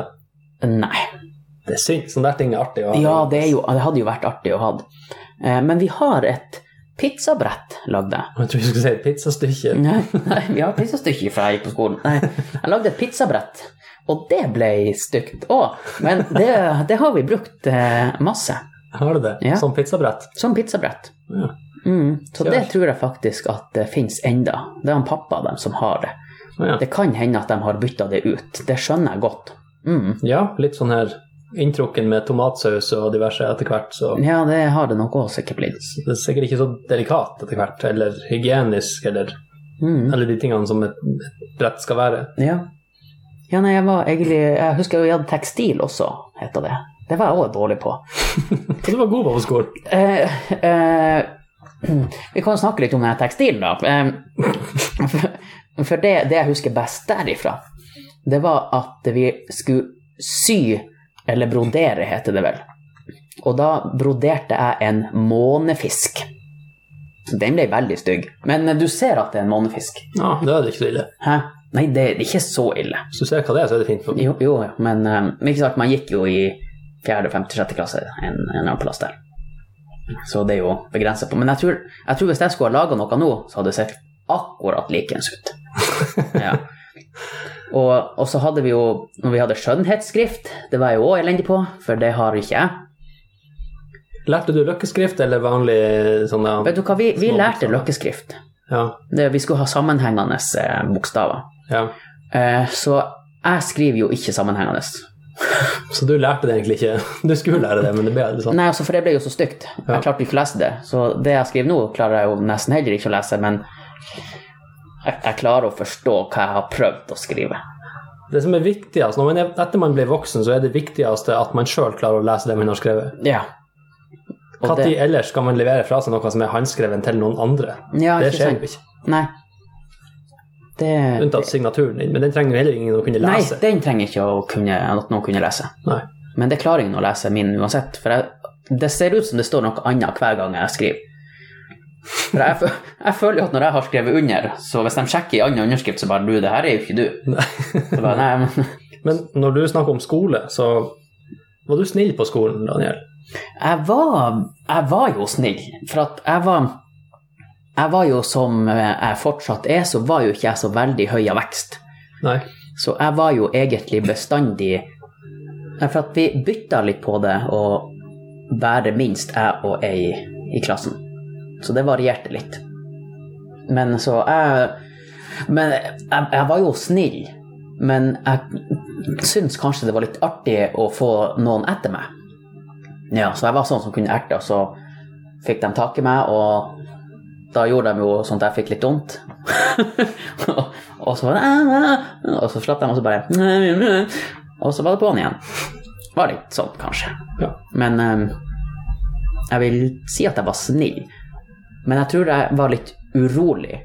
Nei. Det er synd. Sånne der ting er artig å ha. Ja, det, er jo, det hadde jo vært artig å ha. Eh, men vi har et pizzabrett lagd. jeg. Jeg tror jeg skulle si et pizzastykke. Nei, nei, vi har pizzastykke fra jeg gikk på skolen. Nei, jeg lagde et pizzabrett, og det ble stygt òg. Men det, det har vi brukt eh, masse Har du det? Ja. Som pizzabrett? som pizzabrett. Ja. Mm, så Kjør. det tror jeg faktisk at det fins enda. Det er han pappa dem som har det. Ja. Det kan hende at de har bytta det ut. Det skjønner jeg godt. Mm. ja, litt sånn her inntrukken med tomatsaus og diverse etter hvert, så Ja, det har det nok òg sikkert blitt. det er sikkert ikke så delikat etter hvert, eller hygienisk, eller, Mm. eller de tingene som et et brett skal være. Ja. ja, nei, jeg var egentlig Jeg husker jo jeg hadde tekstil også, heter det. Det var jeg òg dårlig på. Så du var god på på skolen. Eh, eh, vi kan snakke litt om den her tekstilen, da. Eh, for- for det, det jeg husker best derifra, det var at vi skulle sy, eller brodere, heter det vel. Og da broderte jeg en månefisk. Den ble veldig stygg. Men eh, du ser at det er en månefisk. Ja, da er det ikke så ille. Hæ? Nei, det er ikke så ille. Hvis du ser hva det er, så er det fint. For. Jo, jo, jo, men eh, ikke sant, man gikk jo i fjerde, femte, sjette klasse en, en eller annen plass der. Så det er jo begrenset på. Men jeg tror, jeg tror hvis jeg skulle ha laga noe nå, så hadde det sett akkurat likens ut. Ja. Og, og så hadde vi jo, når vi hadde skjønnhetsskrift, det var jeg jo òg elendig på, for det har ikke jeg. Lærte du løkkeskrift eller vanlig sånn ja. Vet du hva, vi, vi Små lærte bokstaver. løkkeskrift. Ja, Det, vi skulle ha sammenhengende eh, bokstaver. ja. Eh, så jeg skriver jo ikke sammenhengende. Så du lærte det egentlig ikke? Du skulle lære det, men det ble aldri sånn. Nei, altså, for det ble jo så stygt. Ja. Jeg klarte ikke å lese det. Så det jeg skriver nå, klarer jeg jo nesten heller ikke å lese, men jeg, jeg klarer å forstå hva jeg har prøvd å skrive. Det som er viktigst, når man er, Etter man blir voksen, så er det viktigste at man sjøl klarer å lese det man har skrevet. Ja. Og Når det, ellers skal man levere fra seg noe som er håndskrevet til noen andre? ja, det ikke skjer sant. jo ikke. Nei. Det, Unntatt signaturen din, men den trenger jo heller ingen å kunne nei, lese. den trenger ikke å kunne, at noen kunne lese. Nei. Men det klarer ingen å lese min uansett. For jeg, det ser ut som det står noe annet hver gang jeg skriver. For jeg, fø- jeg føler jo at når jeg har skrevet under, så hvis de sjekker i annen underskrift, så bare du, det her er jo ikke du. Så bare, nei, men... Men når du snakker om skole, så var du snill på skolen, Daniel. Jeg var, jeg var jo snill, for at jeg var Jeg var jo som jeg fortsatt er, så var jo ikke jeg så veldig høy av vekst. Nei. Så jeg var jo egentlig bestandig Nei, For at vi bytta litt på det, og bare minst jeg og ei i klassen. Så det varierte litt. Men så jeg Men jeg, jeg var jo snill. Men jeg syns kanskje det var litt artig å få noen etter meg. Ja, så jeg var sånn som kunne erte, og så fikk de tak i meg, og da gjorde de jo sånn at jeg fikk litt vondt. og, og så var det "Æ, æ," Og så slapp de, og så bare "Æ, æ, æ." Og så var det på'n igjen. Var litt sånn, kanskje. Ja. Men eh, jeg vil si at jeg var snill. Men jeg tror jeg var litt urolig.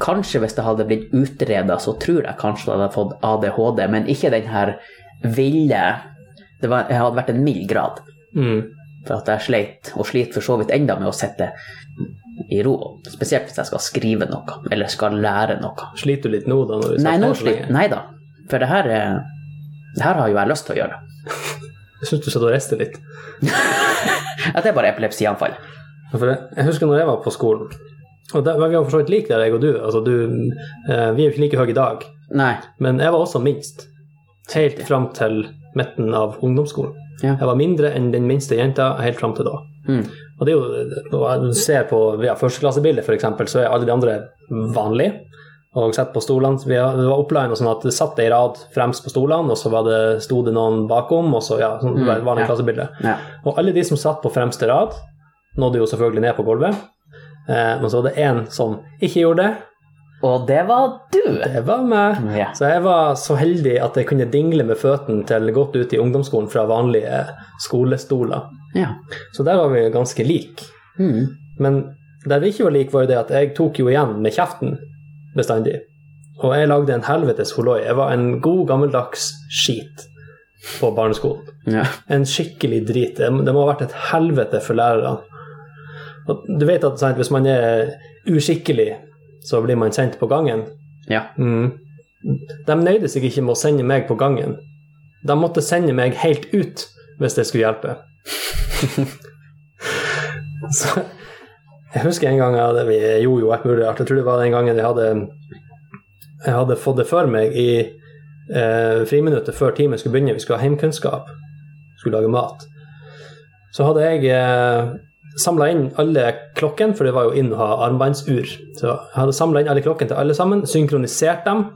Kanskje hvis det hadde blitt utreda, så tror jeg kanskje det hadde fått ADHD, men ikke den her ville Det var, jeg hadde vært en mild grad. Mm. For at jeg sleit, og sliter for så vidt enda med å sitte i ro. Spesielt hvis jeg skal skrive noe, eller skal lære noe. Sliter du litt nå, da? Når du Nei, satt nå ned så lenge? sliter Nei da. For det her, er- det her har jo jeg lyst til å gjøre. Jeg syns du satt og rister litt. At det er bare epilepsianfall. Ja, For jeg, jeg husker når jeg var på skolen, og der, men vi var for så vidt like der, jeg og du. Altså, du eh, vi er jo ikke like høye i dag, Nei. Men jeg var også minst. Helt fram til midten av ungdomsskolen. Ja. Jeg var mindre enn den minste jenta helt fram til da. Mm. Og det er jo, når du ser på via førsteklassebildet f.eks., så er alle de andre vanlige. Og sett på stolene, vi har- Det var oppline og sånn at det satt ei rad fremst på stolene, og så var det, sto det noen bakom, og så ja, sånn Mm, vanlig ja. klassebilde. Ja. Og alle de som satt på fremste rad, nådde jo selvfølgelig ned på gulvet. Eh, men så var det én som ikke gjorde det. Og det var du. Det var meg. Mm, Ja. Så jeg var så heldig at jeg kunne dingle med føttene til godt ut i ungdomsskolen fra vanlige eh, skolestoler. ja. Så der var vi jo ganske like. Mm. Men der vi ikke var like, var jo det at jeg tok jo igjen med kjeften bestandig. Og jeg lagde en helvetes holoi. Jeg var en god, gammeldags skit på barneskolen. ja. En skikkelig drit. Det det må ha vært et helvete for lærerne. Og du vet at sant, hvis man er uskikkelig, så blir man sendt på gangen. Ja. Mm. De nøyde seg ikke med å sende meg på gangen. De måtte sende meg helt ut hvis det skulle hjelpe. så jeg husker en gang jeg hadde, vi gjorde jo et mulig rart. Jeg tror det var den gangen jeg hadde, jeg hadde fått det for meg i eh, friminuttet før timen skulle begynne. Vi skulle ha heimkunnskap, skulle lage mat. Så hadde jeg eh, samla inn alle klokken, for det var jo inn å ha armbåndsur. Så jeg hadde samla inn alle klokken til alle sammen, synkronisert dem,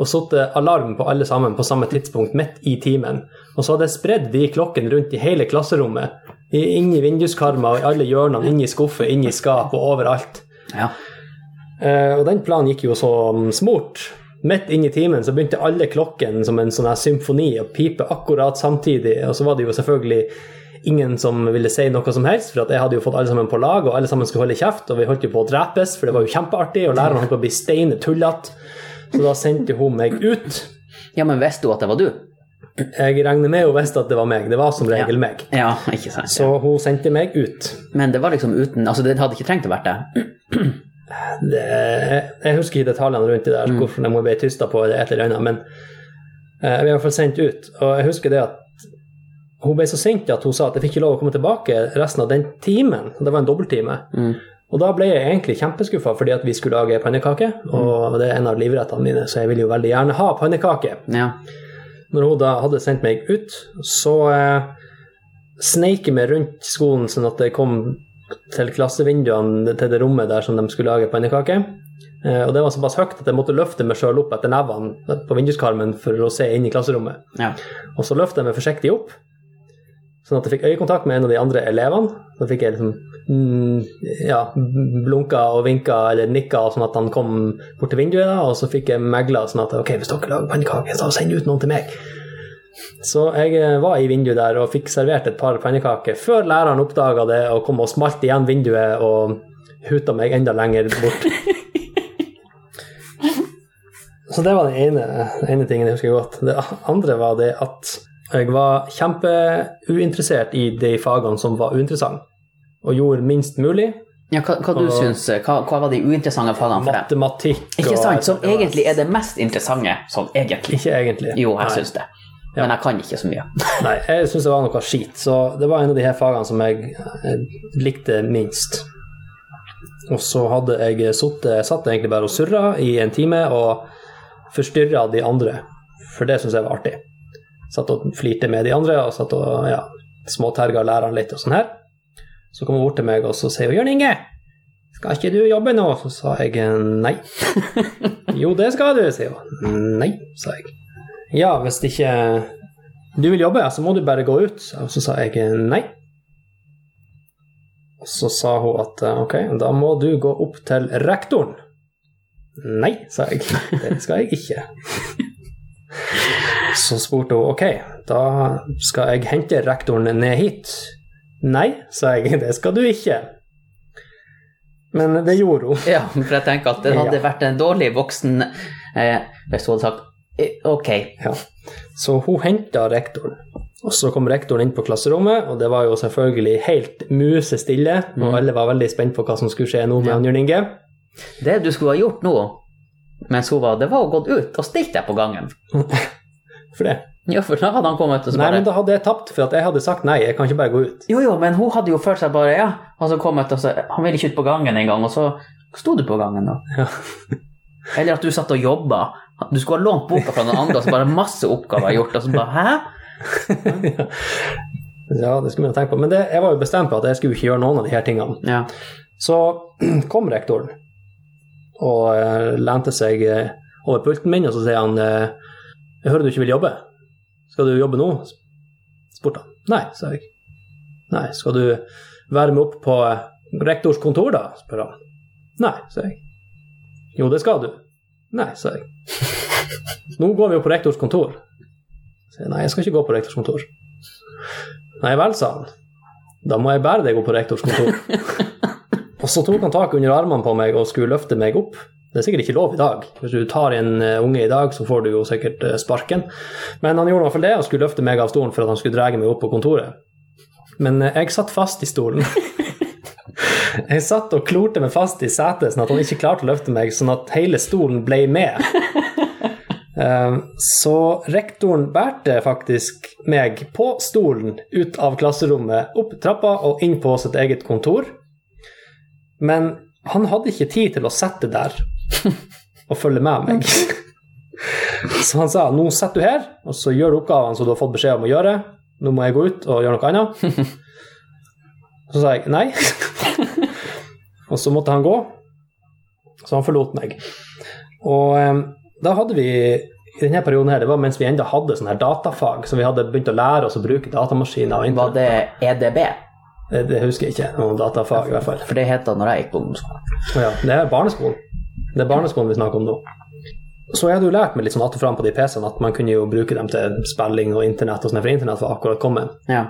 og satt alarm på alle sammen på samme tidspunkt midt i timen. Og så hadde jeg spredd de klokkene rundt i hele klasserommet. i- Inn i vinduskarma og i alle hjørnene, inn i skuffer, inn i skap og overalt. ja. Eh, og den planen gikk jo som smurt. Midt inn i timen så begynte alle klokken som en sånn her symfoni å pipe akkurat samtidig, og så var det jo selvfølgelig ingen som ville si noe som helst, for at jeg hadde jo fått alle sammen på lag, og alle sammen skulle holde kjeft, og vi holdt jo på å drepes, for det var jo kjempeartig, og læreren holdt på å bli steinetullete. Så da sendte hun meg ut. ja, men visste du at det var du? Jeg regner med hun visste at det var meg, det var som regel meg. Ja, ikke sant. Så hun sendte meg ut. Men det var liksom uten Altså, det hadde ikke trengt å vært det. det, jeg, jeg husker ikke detaljene rundt det der, hvorfor de ble tysta på det et eller annet, men eh, jeg ble i hvert fall sendt ut. Og jeg husker det at hun ble så sint at hun sa at jeg fikk ikke lov å komme tilbake resten av den timen. og Det var en dobbelttime. Mm. Og da ble jeg egentlig kjempeskuffa fordi at vi skulle lage pannekake, og det er en av livrettene mine, så jeg vil jo veldig gjerne ha pannekake. Ja. Når hun da hadde sendt meg ut, så eh, sneik jeg meg rundt skolen sånn at jeg kom til klassevinduene til det rommet der som de skulle lage pannekake. Eh, og det var såpass høyt at jeg måtte løfte meg sjøl opp etter nevene på vinduskarmen for å se inn i klasserommet. ja. Og så løftet jeg meg forsiktig opp, sånn at jeg fikk øyekontakt med en av de andre elevene. Så fikk jeg liksom mm, ja, blunka og vinka eller nikka sånn at han kom bort til vinduet, da, og så fikk jeg megla sånn at ok, hvis dere lager pannekaker, så send ut noen til meg. Så jeg eh, var i vinduet der og fikk servert et par pannekaker før læreren oppdaga det og kom og smalt igjen vinduet og huta meg enda lenger bort. Så det var den ene, ene tingen jeg husker godt. Det andre var det at jeg var kjempeuinteressert i de fagene som var uinteressante, og gjorde minst mulig. ja hva, hva du Og- syns eh, Hva, hva var de uinteressante fagene for deg? Matematikk og Ikke sant? Som egentlig er det mest interessante. Sånn egentlig. Ikke egentlig. Jo, jeg Nei. syns det. Men jeg kan ikke så mye. Nei, jeg syns det var noe skit. Så det var en av de her fagene som jeg, eh, likte minst. Og så hadde jeg sittet Satt egentlig bare og surra i en time og forstyrra de andre. For det syns jeg var artig. Satt og flirte med de andre og satt og ja, småterga læreren litt og sånn her. Så kom hun bort til meg og så sier hun 'Jørn Inge, skal ikke du jobbe nå?' Så sa jeg nei. 'Jo, det skal du', sier hun. 'Nei', sa jeg. Ja, hvis ikke du vil jobbe, så må du bare gå ut. Og så sa jeg nei. Og så sa hun at eh, ok, da må du gå opp til rektoren. Nei, sa jeg. Det skal jeg ikke. Så spurte hun ok, da skal jeg hente rektoren ned hit. Nei, sa jeg. Det skal du ikke. Men det gjorde hun. Ja, for jeg tenker at det hadde Ja. vært en dårlig voksen eh, hvis hun hadde sagt eh, ok. Ja. Så hun henta rektoren. Og så kom rektoren inn på klasserommet, og det var jo selvfølgelig helt musestille. Og alle var veldig spent på hva som skulle skje nå med Mhm. Ja. han Jørn Inge. Det du skulle ha gjort nå, mens hun var Det var å gått ut og stilt deg på gangen. For det. Ja, for da hadde han kommet og så Nei, bare men da hadde jeg tapt, for at jeg hadde sagt nei, jeg kan ikke bare gå ut. Jo, jo, men hun hadde jo følt seg bare Ja. Og så kommet og så Han ville ikke ut på gangen engang, og så sto du på gangen, da. Ja. Eller at du satt og jobba. Du skulle ha lånt boka fra noen andre, og så bare masse oppgaver gjort, og så bare Hæ? Ja, det skulle man tenke på. Men det, jeg var jo bestemt på at jeg skulle ikke gjøre noen av de her tingene. Ja. Så kom rektoren og eh, lente seg eh, over pulten min, og så sier han eh, Jeg hører du ikke vil jobbe. Skal du jobbe nå? spurte han. Nei, sa jeg. Nei, skal du være med opp på eh, rektors kontor, da? spør han. Nei, sa jeg. Jo, det skal du. Nei, sa jeg. Nå går vi jo på rektors kontor. Så jeg, Nei, jeg skal ikke gå på rektors kontor. Nei vel, sa han. Da må jeg bære deg opp på rektors kontor. Og så tok han tak under armene på meg og skulle løfte meg opp. Det er sikkert ikke lov i dag. Hvis du tar en eh, unge i dag, så får du jo sikkert eh, sparken. Men han gjorde i hvert fall det, og skulle løfte meg av stolen for at han skulle dra meg opp på kontoret. Men eh, jeg satt fast i stolen. Jeg satt og klorte meg fast i setet, sånn at han ikke klarte å løfte meg, sånn at hele stolen ble med. Eh, Så rektoren bærte faktisk meg på stolen ut av klasserommet, opp trappa og inn på sitt eget kontor. Men han hadde ikke tid til å sette der og følge med meg. Så han sa nå setter du her, og så gjør du oppgavene som du har fått beskjed om å gjøre. Nå må jeg gå ut og gjøre noe annet. Så sa jeg nei. Og så måtte han gå, så han forlot meg. Og eh, da hadde vi i denne perioden her, det var mens vi enda hadde sånne her datafag, så vi hadde begynt å lære oss å bruke datamaskiner. og Var internett. det E EDB? Det, det husker jeg ikke, noen datafag i hvert fall. For det het det når jeg gikk på ungdomsskolen. Å Ja, det er barneskolen. Det er barneskolen vi snakker om nå. Så jeg hadde jo lært meg litt sånn att og fram på de PC-ene at man kunne jo bruke dem til spilling og internett og sånn, for internett var akkurat kommet. Ja.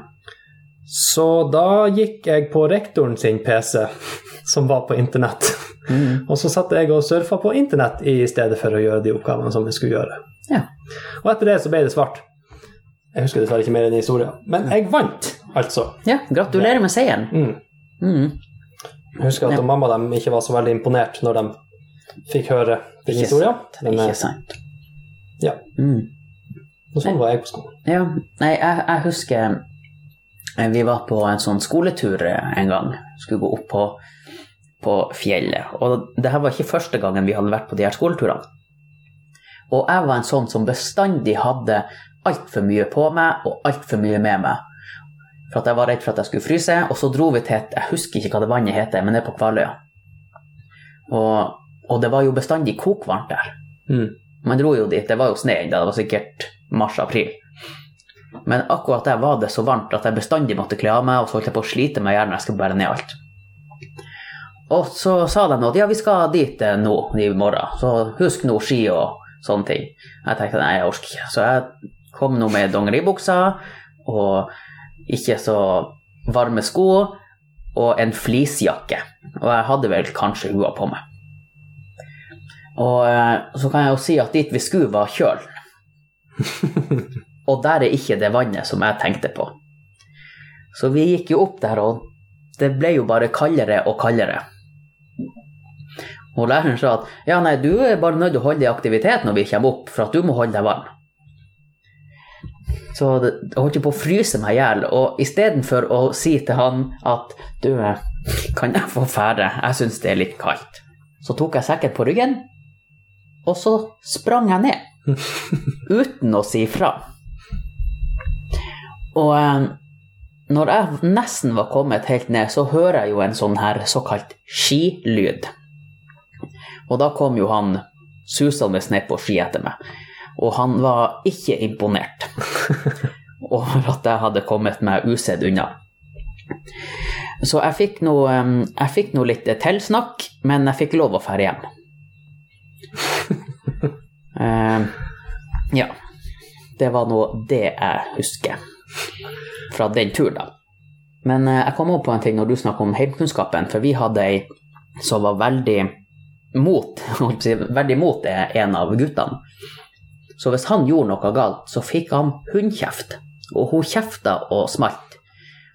Så da gikk jeg på rektoren sin PC, som var på internett. Mm. Og så satt jeg og surfa på internett i stedet for å gjøre de oppgavene som jeg skulle gjøre. Ja. Og etter det så ble det svart. Jeg husker dessverre ikke mer enn historien. Men jeg vant, altså. ja. Gratulerer med seieren. Mm. Mm. Jeg husker at Ja. mamma og dem ikke var så veldig imponert når de fikk høre den Ikke historien. Men, eh, Ikke sant. Ja. Mm. Og sånn var jeg på skolen. Ja, nei, jeg, jeg husker eh, vi var på en sånn skoletur eh, en gang. Skulle gå opp på, på fjellet. Og det her var ikke første gangen vi hadde vært på de her skoleturene. Og jeg var en sånn som bestandig hadde altfor mye på meg og altfor mye med meg. For at jeg var redd for at jeg skulle fryse, og så dro vi til et Jeg husker ikke hva det vannet heter, men det er på Kvaløya. Og, og det var jo bestandig kokvarmt der. Man dro jo dit, det var jo snø ennå, det var sikkert mars-april. Men akkurat der var det så varmt at jeg bestandig måtte kle av meg, og så holdt jeg på å slite med hjernen, jeg skulle bære ned alt. Og så sa de at ja, vi skal dit eh, nå i morgen, så husk nå ski og sånne ting. Jeg tenkte nei, jeg orker ikke. Så jeg kom nå med dongeribuksa og ikke så varme sko og en fleecejakke. Og jeg hadde vel kanskje hua på meg. Og eh, så kan jeg jo si at dit vi skulle var kjølen. og der er ikke det vannet som jeg tenkte på. Så vi gikk jo opp der, og det ble jo bare kaldere og kaldere. Og læreren sa at ja, nei, du er bare nødt til å holde i aktivitet når vi kommer opp, for at du må holde deg varm. Så det- jeg holdt jo på å fryse meg i hjel, og istedenfor å si til han at du, eh, kan jeg få fære, jeg syns det er litt kaldt. Så tok jeg sekken på ryggen, og så sprang jeg ned. Uten å si ifra. Og eh, når jeg nesten var kommet helt ned, så hører jeg jo en sånn her såkalt skilyd. Og da kom jo han susende ned på ski etter meg. Og han var ikke imponert over at jeg hadde kommet meg usedd unna. Så jeg fikk nå eh, jeg fikk nå litt tilsnakk, men jeg fikk lov å dra hjem. Eh, ja. Det var nå det jeg husker fra den turen, da. Men eh, jeg kom opp på en ting når du snakket om heimkunnskapen, for vi hadde ei som var veldig mot holdt på å si, Veldig mot er en av guttene. Så hvis han gjorde noe galt, så fikk han hundkjeft. Og hun kjefta og smalt.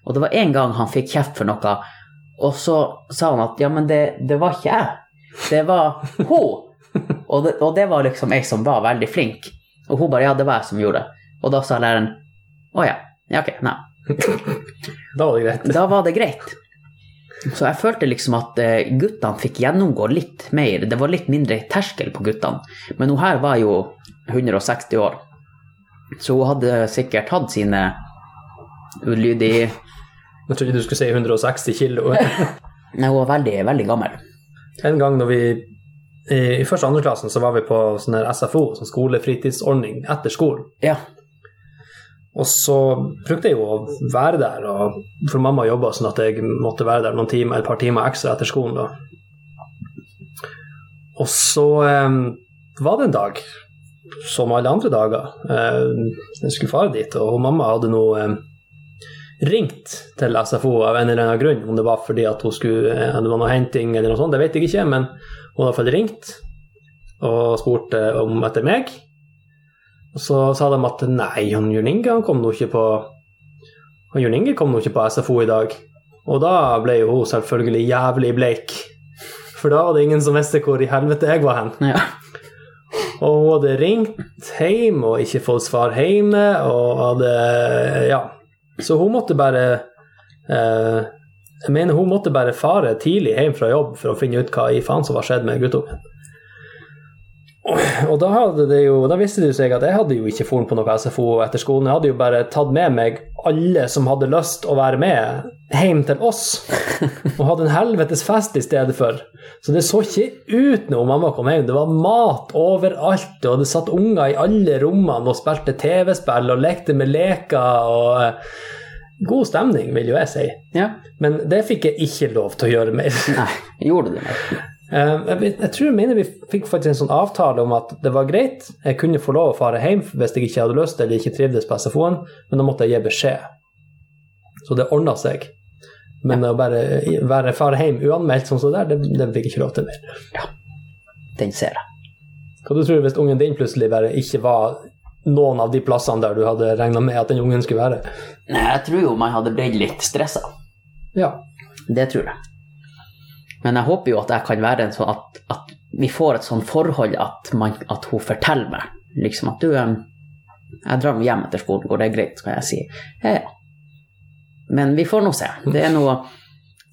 Og det var en gang han fikk kjeft for noe, og så sa han at ja, men det, det var ikke jeg, det var hun. Og det, og det var liksom ei som var veldig flink. Og hun bare ja, det var jeg som gjorde det. Og da sa læreren å ja, ja ok, nei. Da var det greit. Da var det greit. Så jeg følte liksom at eh, guttene fikk gjennomgå litt mer. Det var litt mindre terskel på guttene. Men hun her var jo 160 år, så hun hadde sikkert hatt sine ulydige Jeg trodde du skulle si 160 kilo. Nei, hun var veldig, veldig gammel. En gang når vi i, i første og andre klassen så var vi på sånn her SFO, sånn skolefritidsordning etter skolen. Ja. Og så brukte jeg jo å være der, og, for mamma jobba sånn at jeg måtte være der noen timer, et par timer ekstra etter skolen. Da. Og så em, var det en dag, som alle andre dager, eh, jeg skulle fare dit, og mamma hadde nå em, ringt til SFO av en eller annen grunn, om det var fordi at hun skulle, eh, det var noe henting eller noe sånt, det vet jeg ikke, men hun hadde i hvert fall ringt og spurt eh, om etter meg. Og så sa de at nei, han Jørn Inge han kom nå ikke på han Jørn Inge kom nå ikke på SFO i dag. Og da ble jo hun selvfølgelig jævlig bleik. For da var det ingen som visste hvor i helvete jeg var hen. ja. Og hun hadde ringt hjem og ikke fått svar hjemme, og hadde Ja. Så hun måtte bare eh, Jeg mener hun måtte bare fare tidlig hjem fra jobb for å finne ut hva i faen som var skjedd med guttungen. Og da, hadde det jo, da visste det jo seg at jeg hadde jo ikke foren på noe SFO etter skolen. Jeg hadde jo bare tatt med meg alle som hadde lyst å være med, hjem til oss. Og hadde en helvetes fest i stedet for. Så det så ikke ut når mamma kom hjem. Det var mat overalt, og det satt unger i alle rommene og spilte TV-spill og lekte med leker. og eh, God stemning, vil jo jeg si. ja. Men det fikk jeg ikke lov til å gjøre mer. Nei, gjorde du det? Eh, Jeg, vet- jeg tror jeg mener vi fikk faktisk en sånn avtale om at det var greit, jeg kunne få lov å fare hjem hvis jeg ikke hadde lyst eller ikke trivdes på SFO-en, men da måtte jeg gi beskjed. Så det ordna seg. Men å bare være fare hjem uanmeldt sånn som det der, det, det fikk jeg ikke lov til mer. Den ser jeg. Hva du tror du hvis ungen din plutselig bare ikke var noen av de plassene der du hadde regna med at den ungen skulle være? Nei, jeg tror jo man hadde blitt litt stressa. Ja. Det tror jeg. Men jeg håper jo at jeg kan være en sånn at, at vi får et sånn forhold at, man, at hun forteller meg. Liksom at du em, Jeg drar hjem etter skolen, går det greit? Kan jeg si. Ja, ja. Men vi får nå se. Det er nå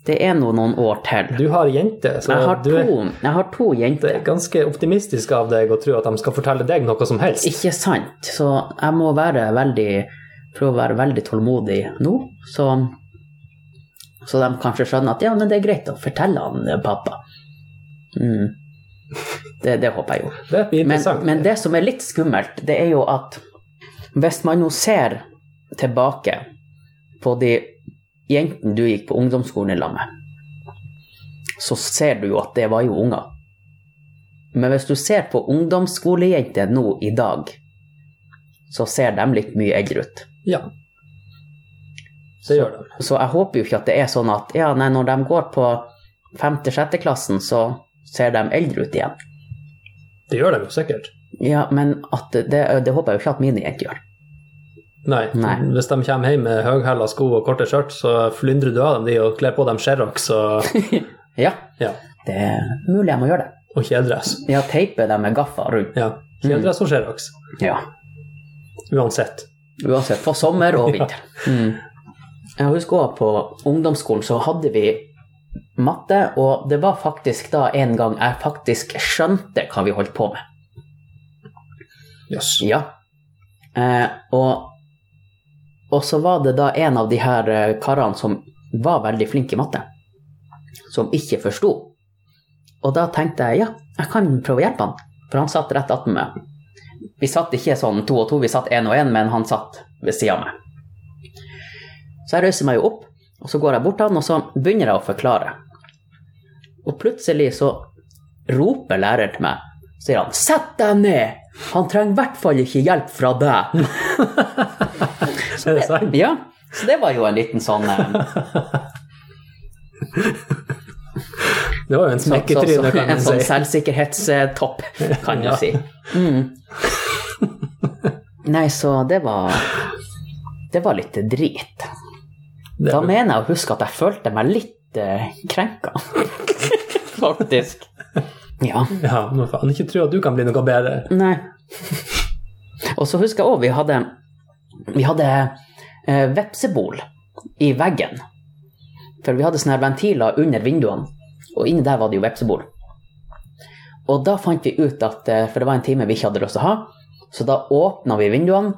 det er nå noen år til. Du har jenter, så Jeg har du er, to, jeg har to jenter. det er ganske optimistisk av deg å tro at de skal fortelle deg noe som helst. Ikke sant. Så jeg må være veldig prøve å være veldig tålmodig nå. Så, så de kanskje skjønner at ja, men det er greit å fortelle han eh, pappa. Mm. Det, det håper jeg jo. Det blir Men, interessant. men det som er litt skummelt, det er jo at hvis man nå ser tilbake på de jentene du gikk på ungdomsskolen i lag med, så ser du jo at det var jo unger. Men hvis du ser på ungdomsskolejenter nå i dag, så ser de litt mye eldre ut. Ja. Det gjør det. Så jeg håper jo ikke at det er sånn at ja, nei, når de går på 5.-6. klassen, så ser de eldre ut igjen. Det gjør de jo sikkert. Ja, men at det, det, det håper jeg jo ikke at mine jenter gjør. Nei. Nei. Hvis de kommer hjem med høyhæla sko og korte skjørt, så flyndrer du av dem de og kler på dem Sherrox og, Ja, ja, det er mulig jeg må gjøre det. og kjeledress. Ja, teipe dem med gaffa rundt. Ja. Kjeledress og Sherrox. Ja. Uansett. Uansett, på sommer og vinter. Mm. Jeg husker også på ungdomsskolen så hadde vi matte, og det var faktisk da en gang jeg faktisk skjønte hva vi holdt på med. Jøss. Ja. Eh, og, og så var det da en av de her eh, karene som var veldig flink i matte, som ikke forsto. Og da tenkte jeg ja, jeg kan prøve å hjelpe han, for han satt rett attmed meg. Vi satt ikke sånn to og to, vi satt én og én, men han satt ved sida av meg. Så jeg reiser meg jo opp, og så går jeg bort til han, og så begynner jeg å forklare. Og plutselig så roper læreren til meg, sier han 'sett deg ned'! Han trenger i hvert fall ikke hjelp fra deg. Er det sant? Ja, så det var jo en liten sånn eh, Det var jo en så, så, så, smekketryne, kan En man sånn si. selvsikkerhetstopp, kan du Ja. si. Mm. Nei, så det var Det var litt drit. Det Da er- mener jeg å huske at jeg følte meg litt eh, krenka. Faktisk. Ja. Ja, men faen, ikke tro at du kan bli noe bedre. Nei. Og så husker jeg òg vi hadde, vi hadde eh, vepsebol i veggen For vi hadde sånne her ventiler under vinduene, og inni der var det jo vepsebol. Og da fant vi ut at eh, For det var en time vi ikke hadde lyst til å ha. Så da åpna vi vinduene,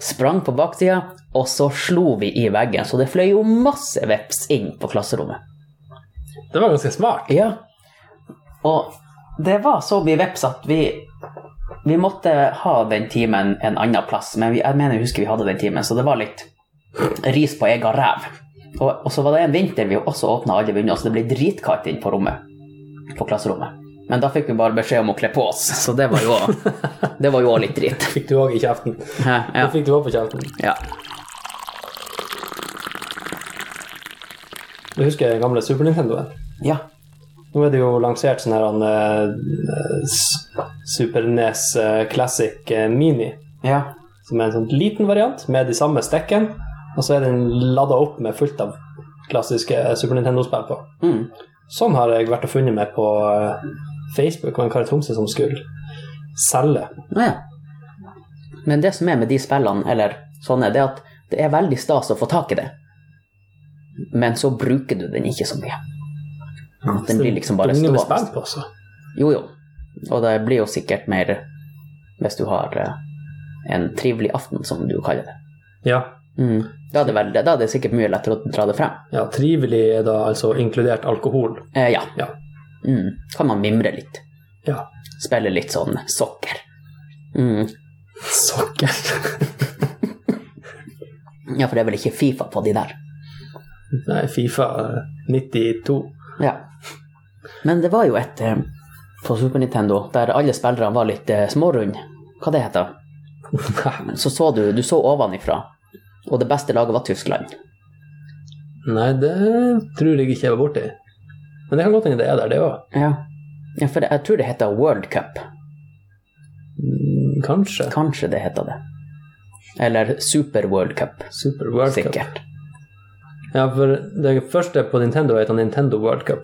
sprang på baksida, og så slo vi i veggen. Så det fløy jo masse veps inn på klasserommet. Det var ganske smart. Ja. Og det var så mye veps at vi Vi måtte ha den timen en annen plass, men vi, jeg mener jeg husker vi hadde den timen, så det var litt ris på egen ræv. Og, og så var det en vinter vi også åpna alle vinduene, så det ble dritkaldt inn på rommet. På klasserommet. Men da fikk vi bare beskjed om å kle på oss, så det var jo Det var jo også litt dritt. Fikk du òg i kjeften. Hæ? Det Ja. fikk du også på kjeften. ja. Du husker den gamle Super Nintendoen? ja. Nå er det jo lansert sånn her han, eh, S- Super Nes eh, Classic eh, Mini, Ja. som er en sånn liten variant med de samme stekken, og så er den lada opp med fullt av klassiske eh, Super Nintendo-spill på. Mm. Sånn har jeg vært og funnet meg på eh, Facebook og en kar i Tromsø som skulle selge. Nå ja. Men det som er med de spillene, eller sånne, det er at det er veldig stas å få tak i det. Men så bruker du den ikke så mye. At den blir liksom bare Det er mye med stående. Sånn spill på også. Jo, jo. Og det blir jo sikkert mer hvis du har eh, en trivelig aften, som du kaller det. Ja. Mm. Da, er det vel, da er det sikkert mye lettere å dra det frem. ja, trivelig er da altså inkludert alkohol. Eh, ja. Ja. Mm. Kan man mimre litt. Ja. Spille litt sånn sokker. Mm. Sokker. Ja, for det er vel ikke Fifa på de der. Nei, Fifa eh, 92. Ja. Men det var jo et eh, på Super Nintendo der alle spillerne var litt eh, smårunde. Hva det heter Så så du, du så ovenifra. Og det beste laget var Tyskland. Nei, det tror jeg ikke jeg var borti. Men det kan godt hende det er der, det òg. Ja. ja for jeg tror det heter World Cup. Kanskje. Kanskje det heter det. Eller Super World Cup, Super World Cup. sikkert. Ja, for det første på Nintendo heter Nintendo World Cup.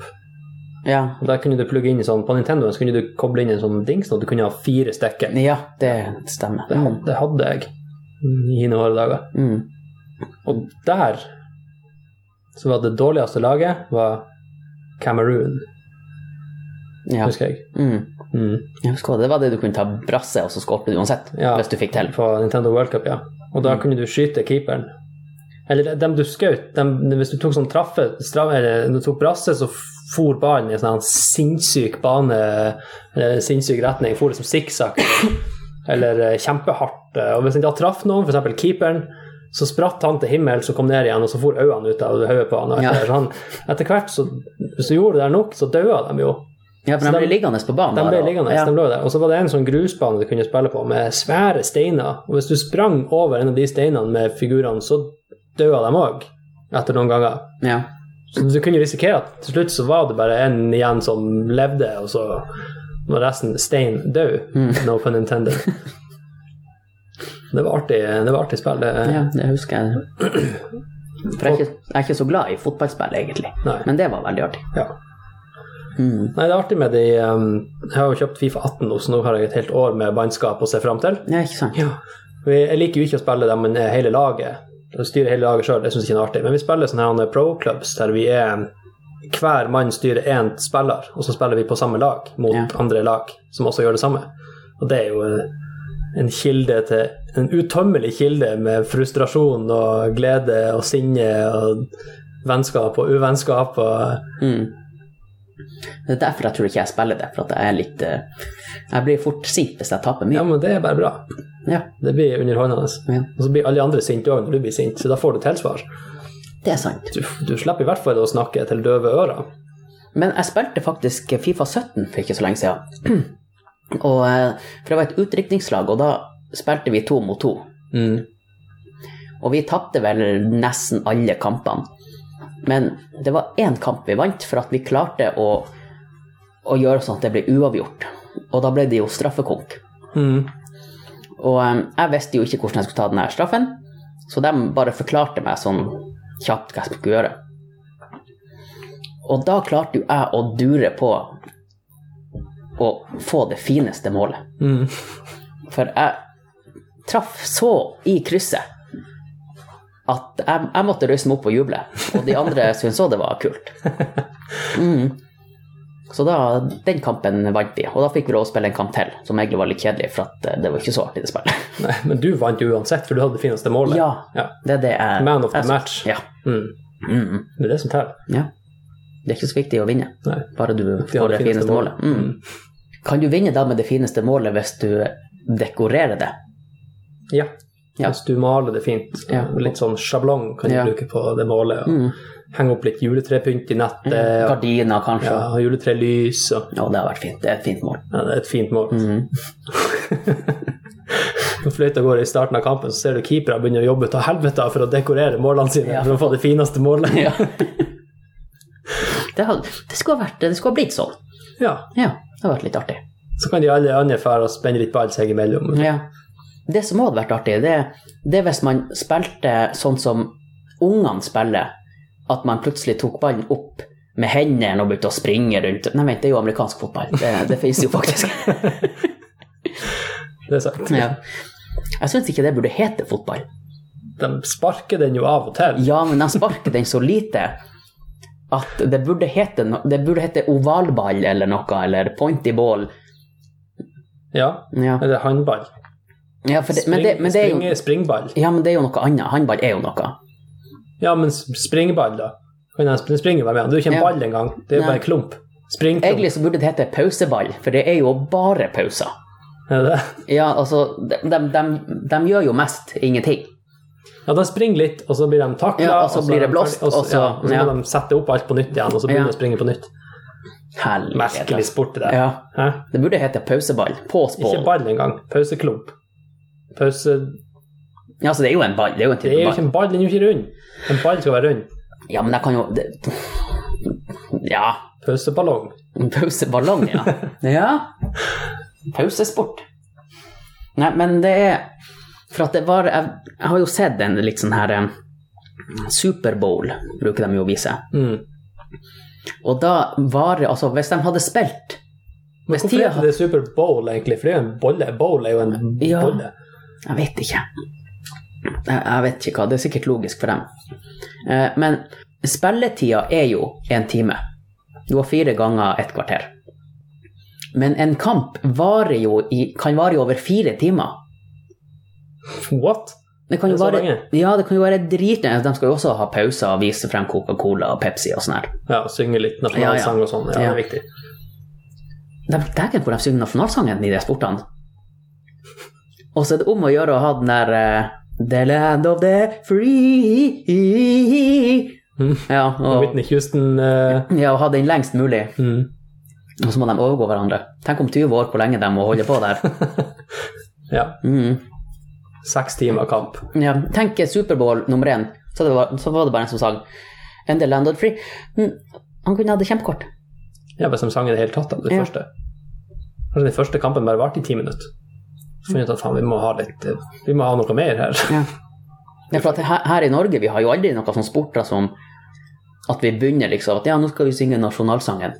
Ja. Og der kunne du plugge inn i sånn, På Nintendoen så kunne du koble inn en sånn dings, og du kunne ha fire stekker. ja, det stemmer. Det hadde, det hadde jeg i noen hårde dager. Mm. Og der så var det dårligste laget var Cameroon, Ja. husker jeg. Mm. Mm. Jeg husker, det var det du kunne ta brasse, og så skålte du uansett. Ja. Hvis du fikk til. På Nintendo World Cup, ja. Og da kunne du skyte keeperen. Eller dem du skjøt dem- Hvis du tok sånn traffe, straff, eller du tok brasse, så for ballen i en sånn sinnssyk bane, eller sinnssyk retning. For liksom sikksakk, eller eh, kjempehardt. Og hvis den da traff noen, f.eks. keeperen, så spratt han til himmels og kom ned igjen, og så for øynene ut av hodet på han. Og etter, Ja. så han, etter hvert, så, hvis du gjorde det der nok, så daua de jo. Ja, for Så de de- ble liggende på banen. De der, ble og- liggende, Ja. de lå der. Og så var det en sånn grusbane du kunne spille på med svære steiner. Og hvis du sprang over en av de steinene med figurene, så døde de òg etter noen ganger. Ja. Så du kunne risikere at til slutt så var det bare en igjen som levde, og så var resten stein død. Hmm. No pun intended. Det var artig, det var artig spill. Det, Ja, det husker jeg. For jeg er, ikke, jeg er ikke så glad i fotballspill, egentlig. Nei. Men det var veldig artig. Mm. Ja. Nei, det er artig med de um, Jeg har jo kjøpt Fifa 18 nå, så nå har jeg et helt år med bannskap å se fram til. Ja, ikke sant? Ja. Vi- Jeg liker jo ikke å spille dem men eh, hele laget. Å styre hele laget sjøl, det syns jeg ikke er artig. Men vi spiller sånne her pro-clubs der vi er hver mann styrer én spiller, og så spiller vi på samme lag mot Ja. andre lag som også gjør det samme. Og det er jo eh, en kilde til En utømmelig kilde med frustrasjon og glede og sinne og vennskap og uvennskap og Mm. Det er derfor jeg tror ikke jeg spiller det, for at jeg er litt eh, Jeg blir fort sint hvis jeg taper Ja, mye. men det er bare bra. Ja, Det blir underholdende. Ja. Og så blir alle andre sinte òg når du blir sint, så da får du tilsvar. det er sant. Du, du slipper i hvert fall å snakke til døve ører. Men jeg spilte faktisk Fifa 17 for ikke så lenge siden. Og, eh, for det var et utdrikningslag, og da spilte vi to mot to. Mm. Og vi tapte vel nesten alle kampene. Men det var én kamp vi vant for at vi klarte å, å gjøre sånn at det ble uavgjort. Og da ble det jo straffekonk. Mm. Og eh, jeg visste jo ikke hvordan jeg skulle ta den her straffen, så de bare forklarte meg sånn kjapt hva jeg skulle gjøre. Og da klarte jo jeg å dure på å få det fineste målet. Mm. For jeg traff så i krysset at jeg, jeg måtte røyse meg opp og juble. Og de andre syntes òg det var kult. Mm. Så da, den kampen vant vi, og da fikk vi lov å spille en kamp til, som egentlig var litt kjedelig, for at eh, det var ikke så artig det spillet. Nei, men du vant jo uansett, for du hadde det fineste målet. Ja, Ja. det er det jeg Man of the jeg- match. Ja. Mm. Mm. Det er det som teller. ja. Det er ikke så viktig å vinne, Nei. bare du De har får det fineste målet. Mm. Kan du vinne da med det fineste målet hvis du dekorerer det? Ja. Ja. Hvis du maler det fint, Ja. litt sånn sjablong kan du Ja. bruke på det målet. Og Mm. Henge opp litt juletrepynt i nettet. og- Gardiner, kanskje? Eh, Ja, Ja. og juletrelys og det har vært fint. Det er et fint mål. ja, Det er et fint mål. Mm. Når fløyta går i starten av kampen, så ser du keepere begynner å jobbe til helvete for å dekorere målene sine Ja. for å få det fineste målet. Ja. det, har, det, skulle ha vært, det skulle ha blitt sånn. Ja. Ja, det har vært litt artig. Så kan de alle andre fære og spenne litt ball seg imellom. Ja. Det som hadde vært artig, det det er hvis man spilte sånn som ungene spiller, at man plutselig tok ballen opp med hendene og begynte å springe rundt. Nei, vent, det er jo amerikansk fotball. Det, det finnes jo faktisk. Det er sant. Ja. Jeg syns ikke det burde hete fotball. De sparker den jo av og til. Ja, men de sparker den så lite at det burde hete, no det burde hete ovalball eller noe, eller pointy ball. Ja. Ja, Eller håndball. ja for det, Spring, men, det, men, det er jo, springe- springball. ja, men det er jo noe annet. Håndball er jo noe. Ja, men s- springball, da. Kan jeg spille springe med? Det er jo ikke en Ja. ball engang. Det er jo Nei. bare en klump. Springklump. Egentlig så burde det hete pauseball, for det er jo bare pauser. Er det det? Ja, altså, de, de, de, de gjør jo mest ingenting. Ja, de springer litt, og så blir de takla, Ja, og så blir det blåst, og så, og så- ja, og så ja. må de sette opp alt på nytt igjen, og så begynner Ja. de å springe på nytt. Helvete. Merkelig sport, det der. altså. Ja, Hæ? det burde hete pauseball. Ikke Pauseball. ball engang. Pauseklump. Pause Ja, altså, det er jo en ball. Det er jo en Det type er jo ball. ikke en ball, den er jo ikke rund. En ball skal være rund. Ja, men jeg kan jo det, Ja. Pauseballong. En Pauseballong, ja. ja. Pausesport. Nei, men det er For at det var Jeg, jeg har jo sett en litt sånn her eh, Superbowl bruker de jo å vise. Mm. Og da var det altså Hvis de hadde spilt Men hvorfor tida heter det Super Bowl, egentlig? For det er jo en bolle. Bowl er jo en Ja. bolle. Jeg vet ikke. Jeg, jeg vet ikke hva. Det er sikkert logisk for dem. Eh, men spilletida er jo én time. Du har fire ganger et kvarter. Men en kamp varer jo i, kan vare i over fire timer. What? Det kan jo Det er så være, lenge. ja, det kan jo være dritlenge. De skal jo også ha pauser og vise frem Coca-Cola og Pepsi og sånn her. Ja, og synge litt nasjonalsang og sånn. Ja, det Ja. er viktig. De dæken hvor de synger nasjonalsangen i de sportene. Og så er det om å gjøre å ha den der eh, The land of the free Mm. Ja, Og og, Whitney Houston eh, ja, og ha den lengst mulig. mm. Og så må de overgå hverandre. Tenk om 20 år hvor lenge de må holde på der. Ja. Mm. Seks timer kamp. Ja, tenk Superbowl nummer én, så, det var, så var det bare en som sang And the land of the free. Mm. Han kunne ha det kjempekort. Ja, Hvis de sang i det hele tatt, da. Det Ja. første. Kanskje den første kampen bare varte i ti minutter. Så fant jeg ut at faen, vi må ha litt eh, Vi må ha noe mer her. Ja, for at her, her i Norge vi har jo aldri noe sånn sporter som at vi begynner liksom at ja, nå skal vi synge nasjonalsangen.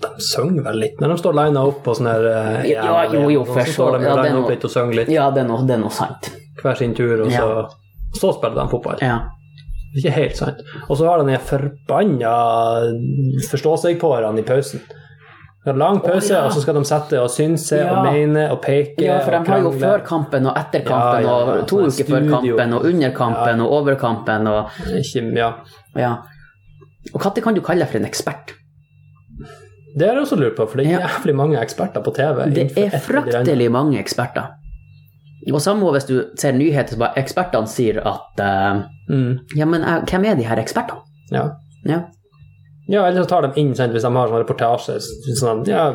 De synger vel litt når de står lina opp og sånn her eh, Ja, jo, jo, Så for så- står de ja, lina det er opp noe- litt og synger litt Ja, det er noe, det er noe sant. hver sin tur, og så, Ja. så spiller de fotball. Ja. Ikke helt sant. Og så har han en forbanna forstå-seg-på-erne i pausen. Det er lang pause, ja. og så skal de sette og synse og Ja. mene og peke ja, for de og har jo krangle. før kampen og etter Ja, kampen ja, og to sånn uker før studio. kampen og under kampen og over kampen og Ikke, ja. ja. Og når kan du kalle deg for en ekspert? Det har jeg også lurt på, for det er Ja. jævlig mange eksperter på TV. Det innenfor et er eller annet. fryktelig mange eksperter. Og samme hvis du ser nyheter, så bare ekspertene sier at eh, Mm, Ja, men eh, hvem er de her ekspertene? ja. Ja. ja, eller så tar de inn, sant, hvis de har sånn reportasje, sånn ja,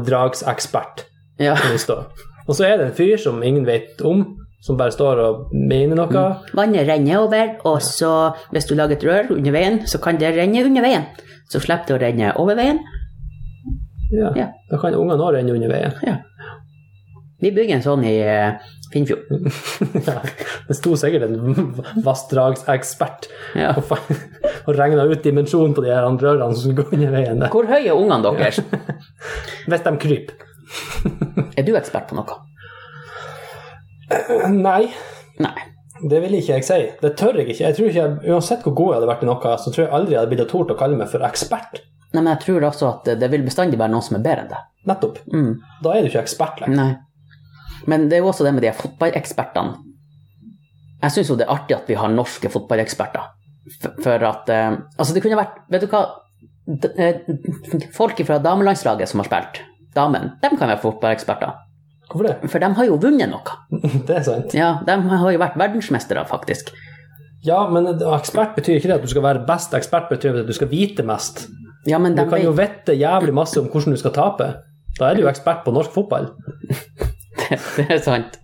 vanndragsekspert, ja. som det står. Og så er det en fyr som ingen vet om, som bare står og mener noe. Vannet renner over, og så hvis du lager et rør under veien, så kan det renne under veien. Så slipper det å renne over veien. Ja. Ja. Da kan ungene òg renne under veien. Vi bygger en sånn i eh, Finnfjord. Ja, det sto sikkert en vassdragsekspert Ja. og, fa- og regna ut dimensjonen på de her rørene som går under veien. der. Hvor høye er ungene deres? Hvis de kryper. Er du ekspert på noe? Nei, Nei. Det vil ikke jeg si. Det tør jeg ikke. Jeg tror ikke jeg, Uansett hvor god jeg hadde vært i noe, så tror jeg aldri jeg hadde blitt tort å kalle meg for ekspert. Nei, men jeg tror altså at det vil bestandig være noen som er bedre enn deg. Nettopp. Mm. Da er du ikke ekspert lenger. Nei. Men det er jo også det med de her fotballekspertene. Jeg syns jo det er artig at vi har norske fotballeksperter. F- For at eh, Altså, det kunne vært Vet du hva? D eh, folk fra damelandslaget som har spilt, damene, de kan være fotballeksperter. Hvorfor det? For de har jo vunnet noe. Det er sant. Ja, de har jo vært verdensmestere, faktisk. Ja, men ekspert betyr ikke det at du skal være best. Ekspert betyr at du skal vite mest. Ja, men Du de kan jo vet vite jævlig masse om hvordan du skal tape. Da er du jo ekspert på norsk fotball. det. Det er sant.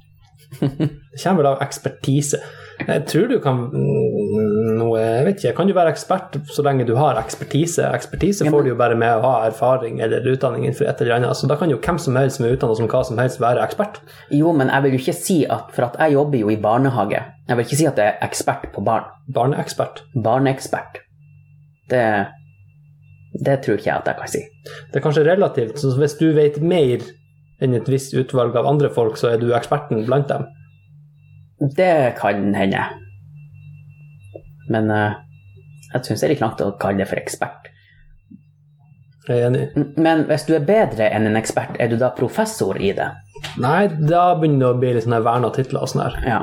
Det kommer vel av ekspertise. Jeg tror du kan mm, noe, Jeg vet ikke. Kan du være ekspert så lenge du har ekspertise? Ekspertise Ja, får men- du jo bare med å ha erfaring eller utdanning innenfor et eller annet. Så da kan jo hvem som helst som er utdannet som hva som helst, være ekspert. Jo, men jeg vil jo ikke si at For at jeg jobber jo i barnehage. Jeg vil ikke si at jeg er ekspert på barn. Barneekspert. barneekspert. Det, det tror ikke jeg at jeg kan si. Det er kanskje relativt. Så hvis du vet mer enn et visst utvalg av andre folk, så er du eksperten blant dem. Det kan hende. Men eh, jeg syns det er litt langt å kalle det for ekspert. Jeg er enig. M- Men hvis du er bedre enn en ekspert, er du da professor i det? Nei, da begynner det å bli litt sånne verna titler og sånn her. Ja.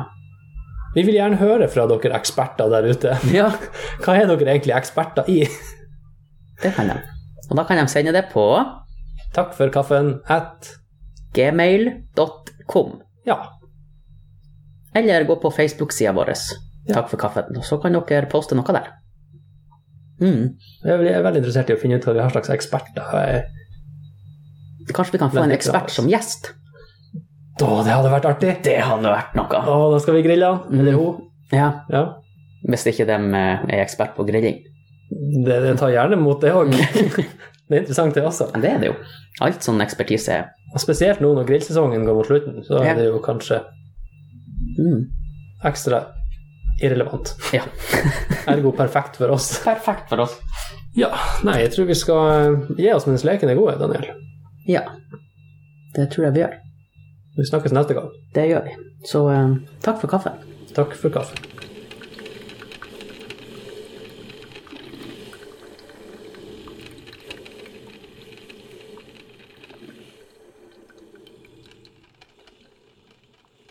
Vi vil gjerne høre fra dere eksperter der ute. ja. Hva er dere egentlig eksperter i? Det kan de. Og da kan de sende det på Takk for kaffen at gmail.com. Ja. Eller gå på Facebook-sida vår. Takk for kaffen. Og så kan dere poste noe der. Mm. Jeg er- jeg er veldig interessert i å finne ut hva vi har slags eksperter. Jeg- Kanskje vi kan få en ekspert som gjest? Da, det hadde vært artig! Det hadde vært noe. Å, da skal vi grille han. Eller hun. Ja. Ja. Hvis ikke de eh, er ekspert på grilling. Det, det tar gjerne mot det òg. Det er interessant, det også. Men det er det jo. Alt sånn ekspertise er. Og Spesielt nå når grillsesongen går mot slutten, så Ja. er det jo kanskje Mm. ekstra irrelevant. Ja. Ergo perfekt for oss. Perfekt for oss. Ja, nei, jeg tror vi skal eh, gi oss mens leken er god, Daniel. Ja. Det tror jeg vi gjør. Vi snakkes neste gang. Det gjør vi. Så eh, takk for kaffen. Takk for kaffen.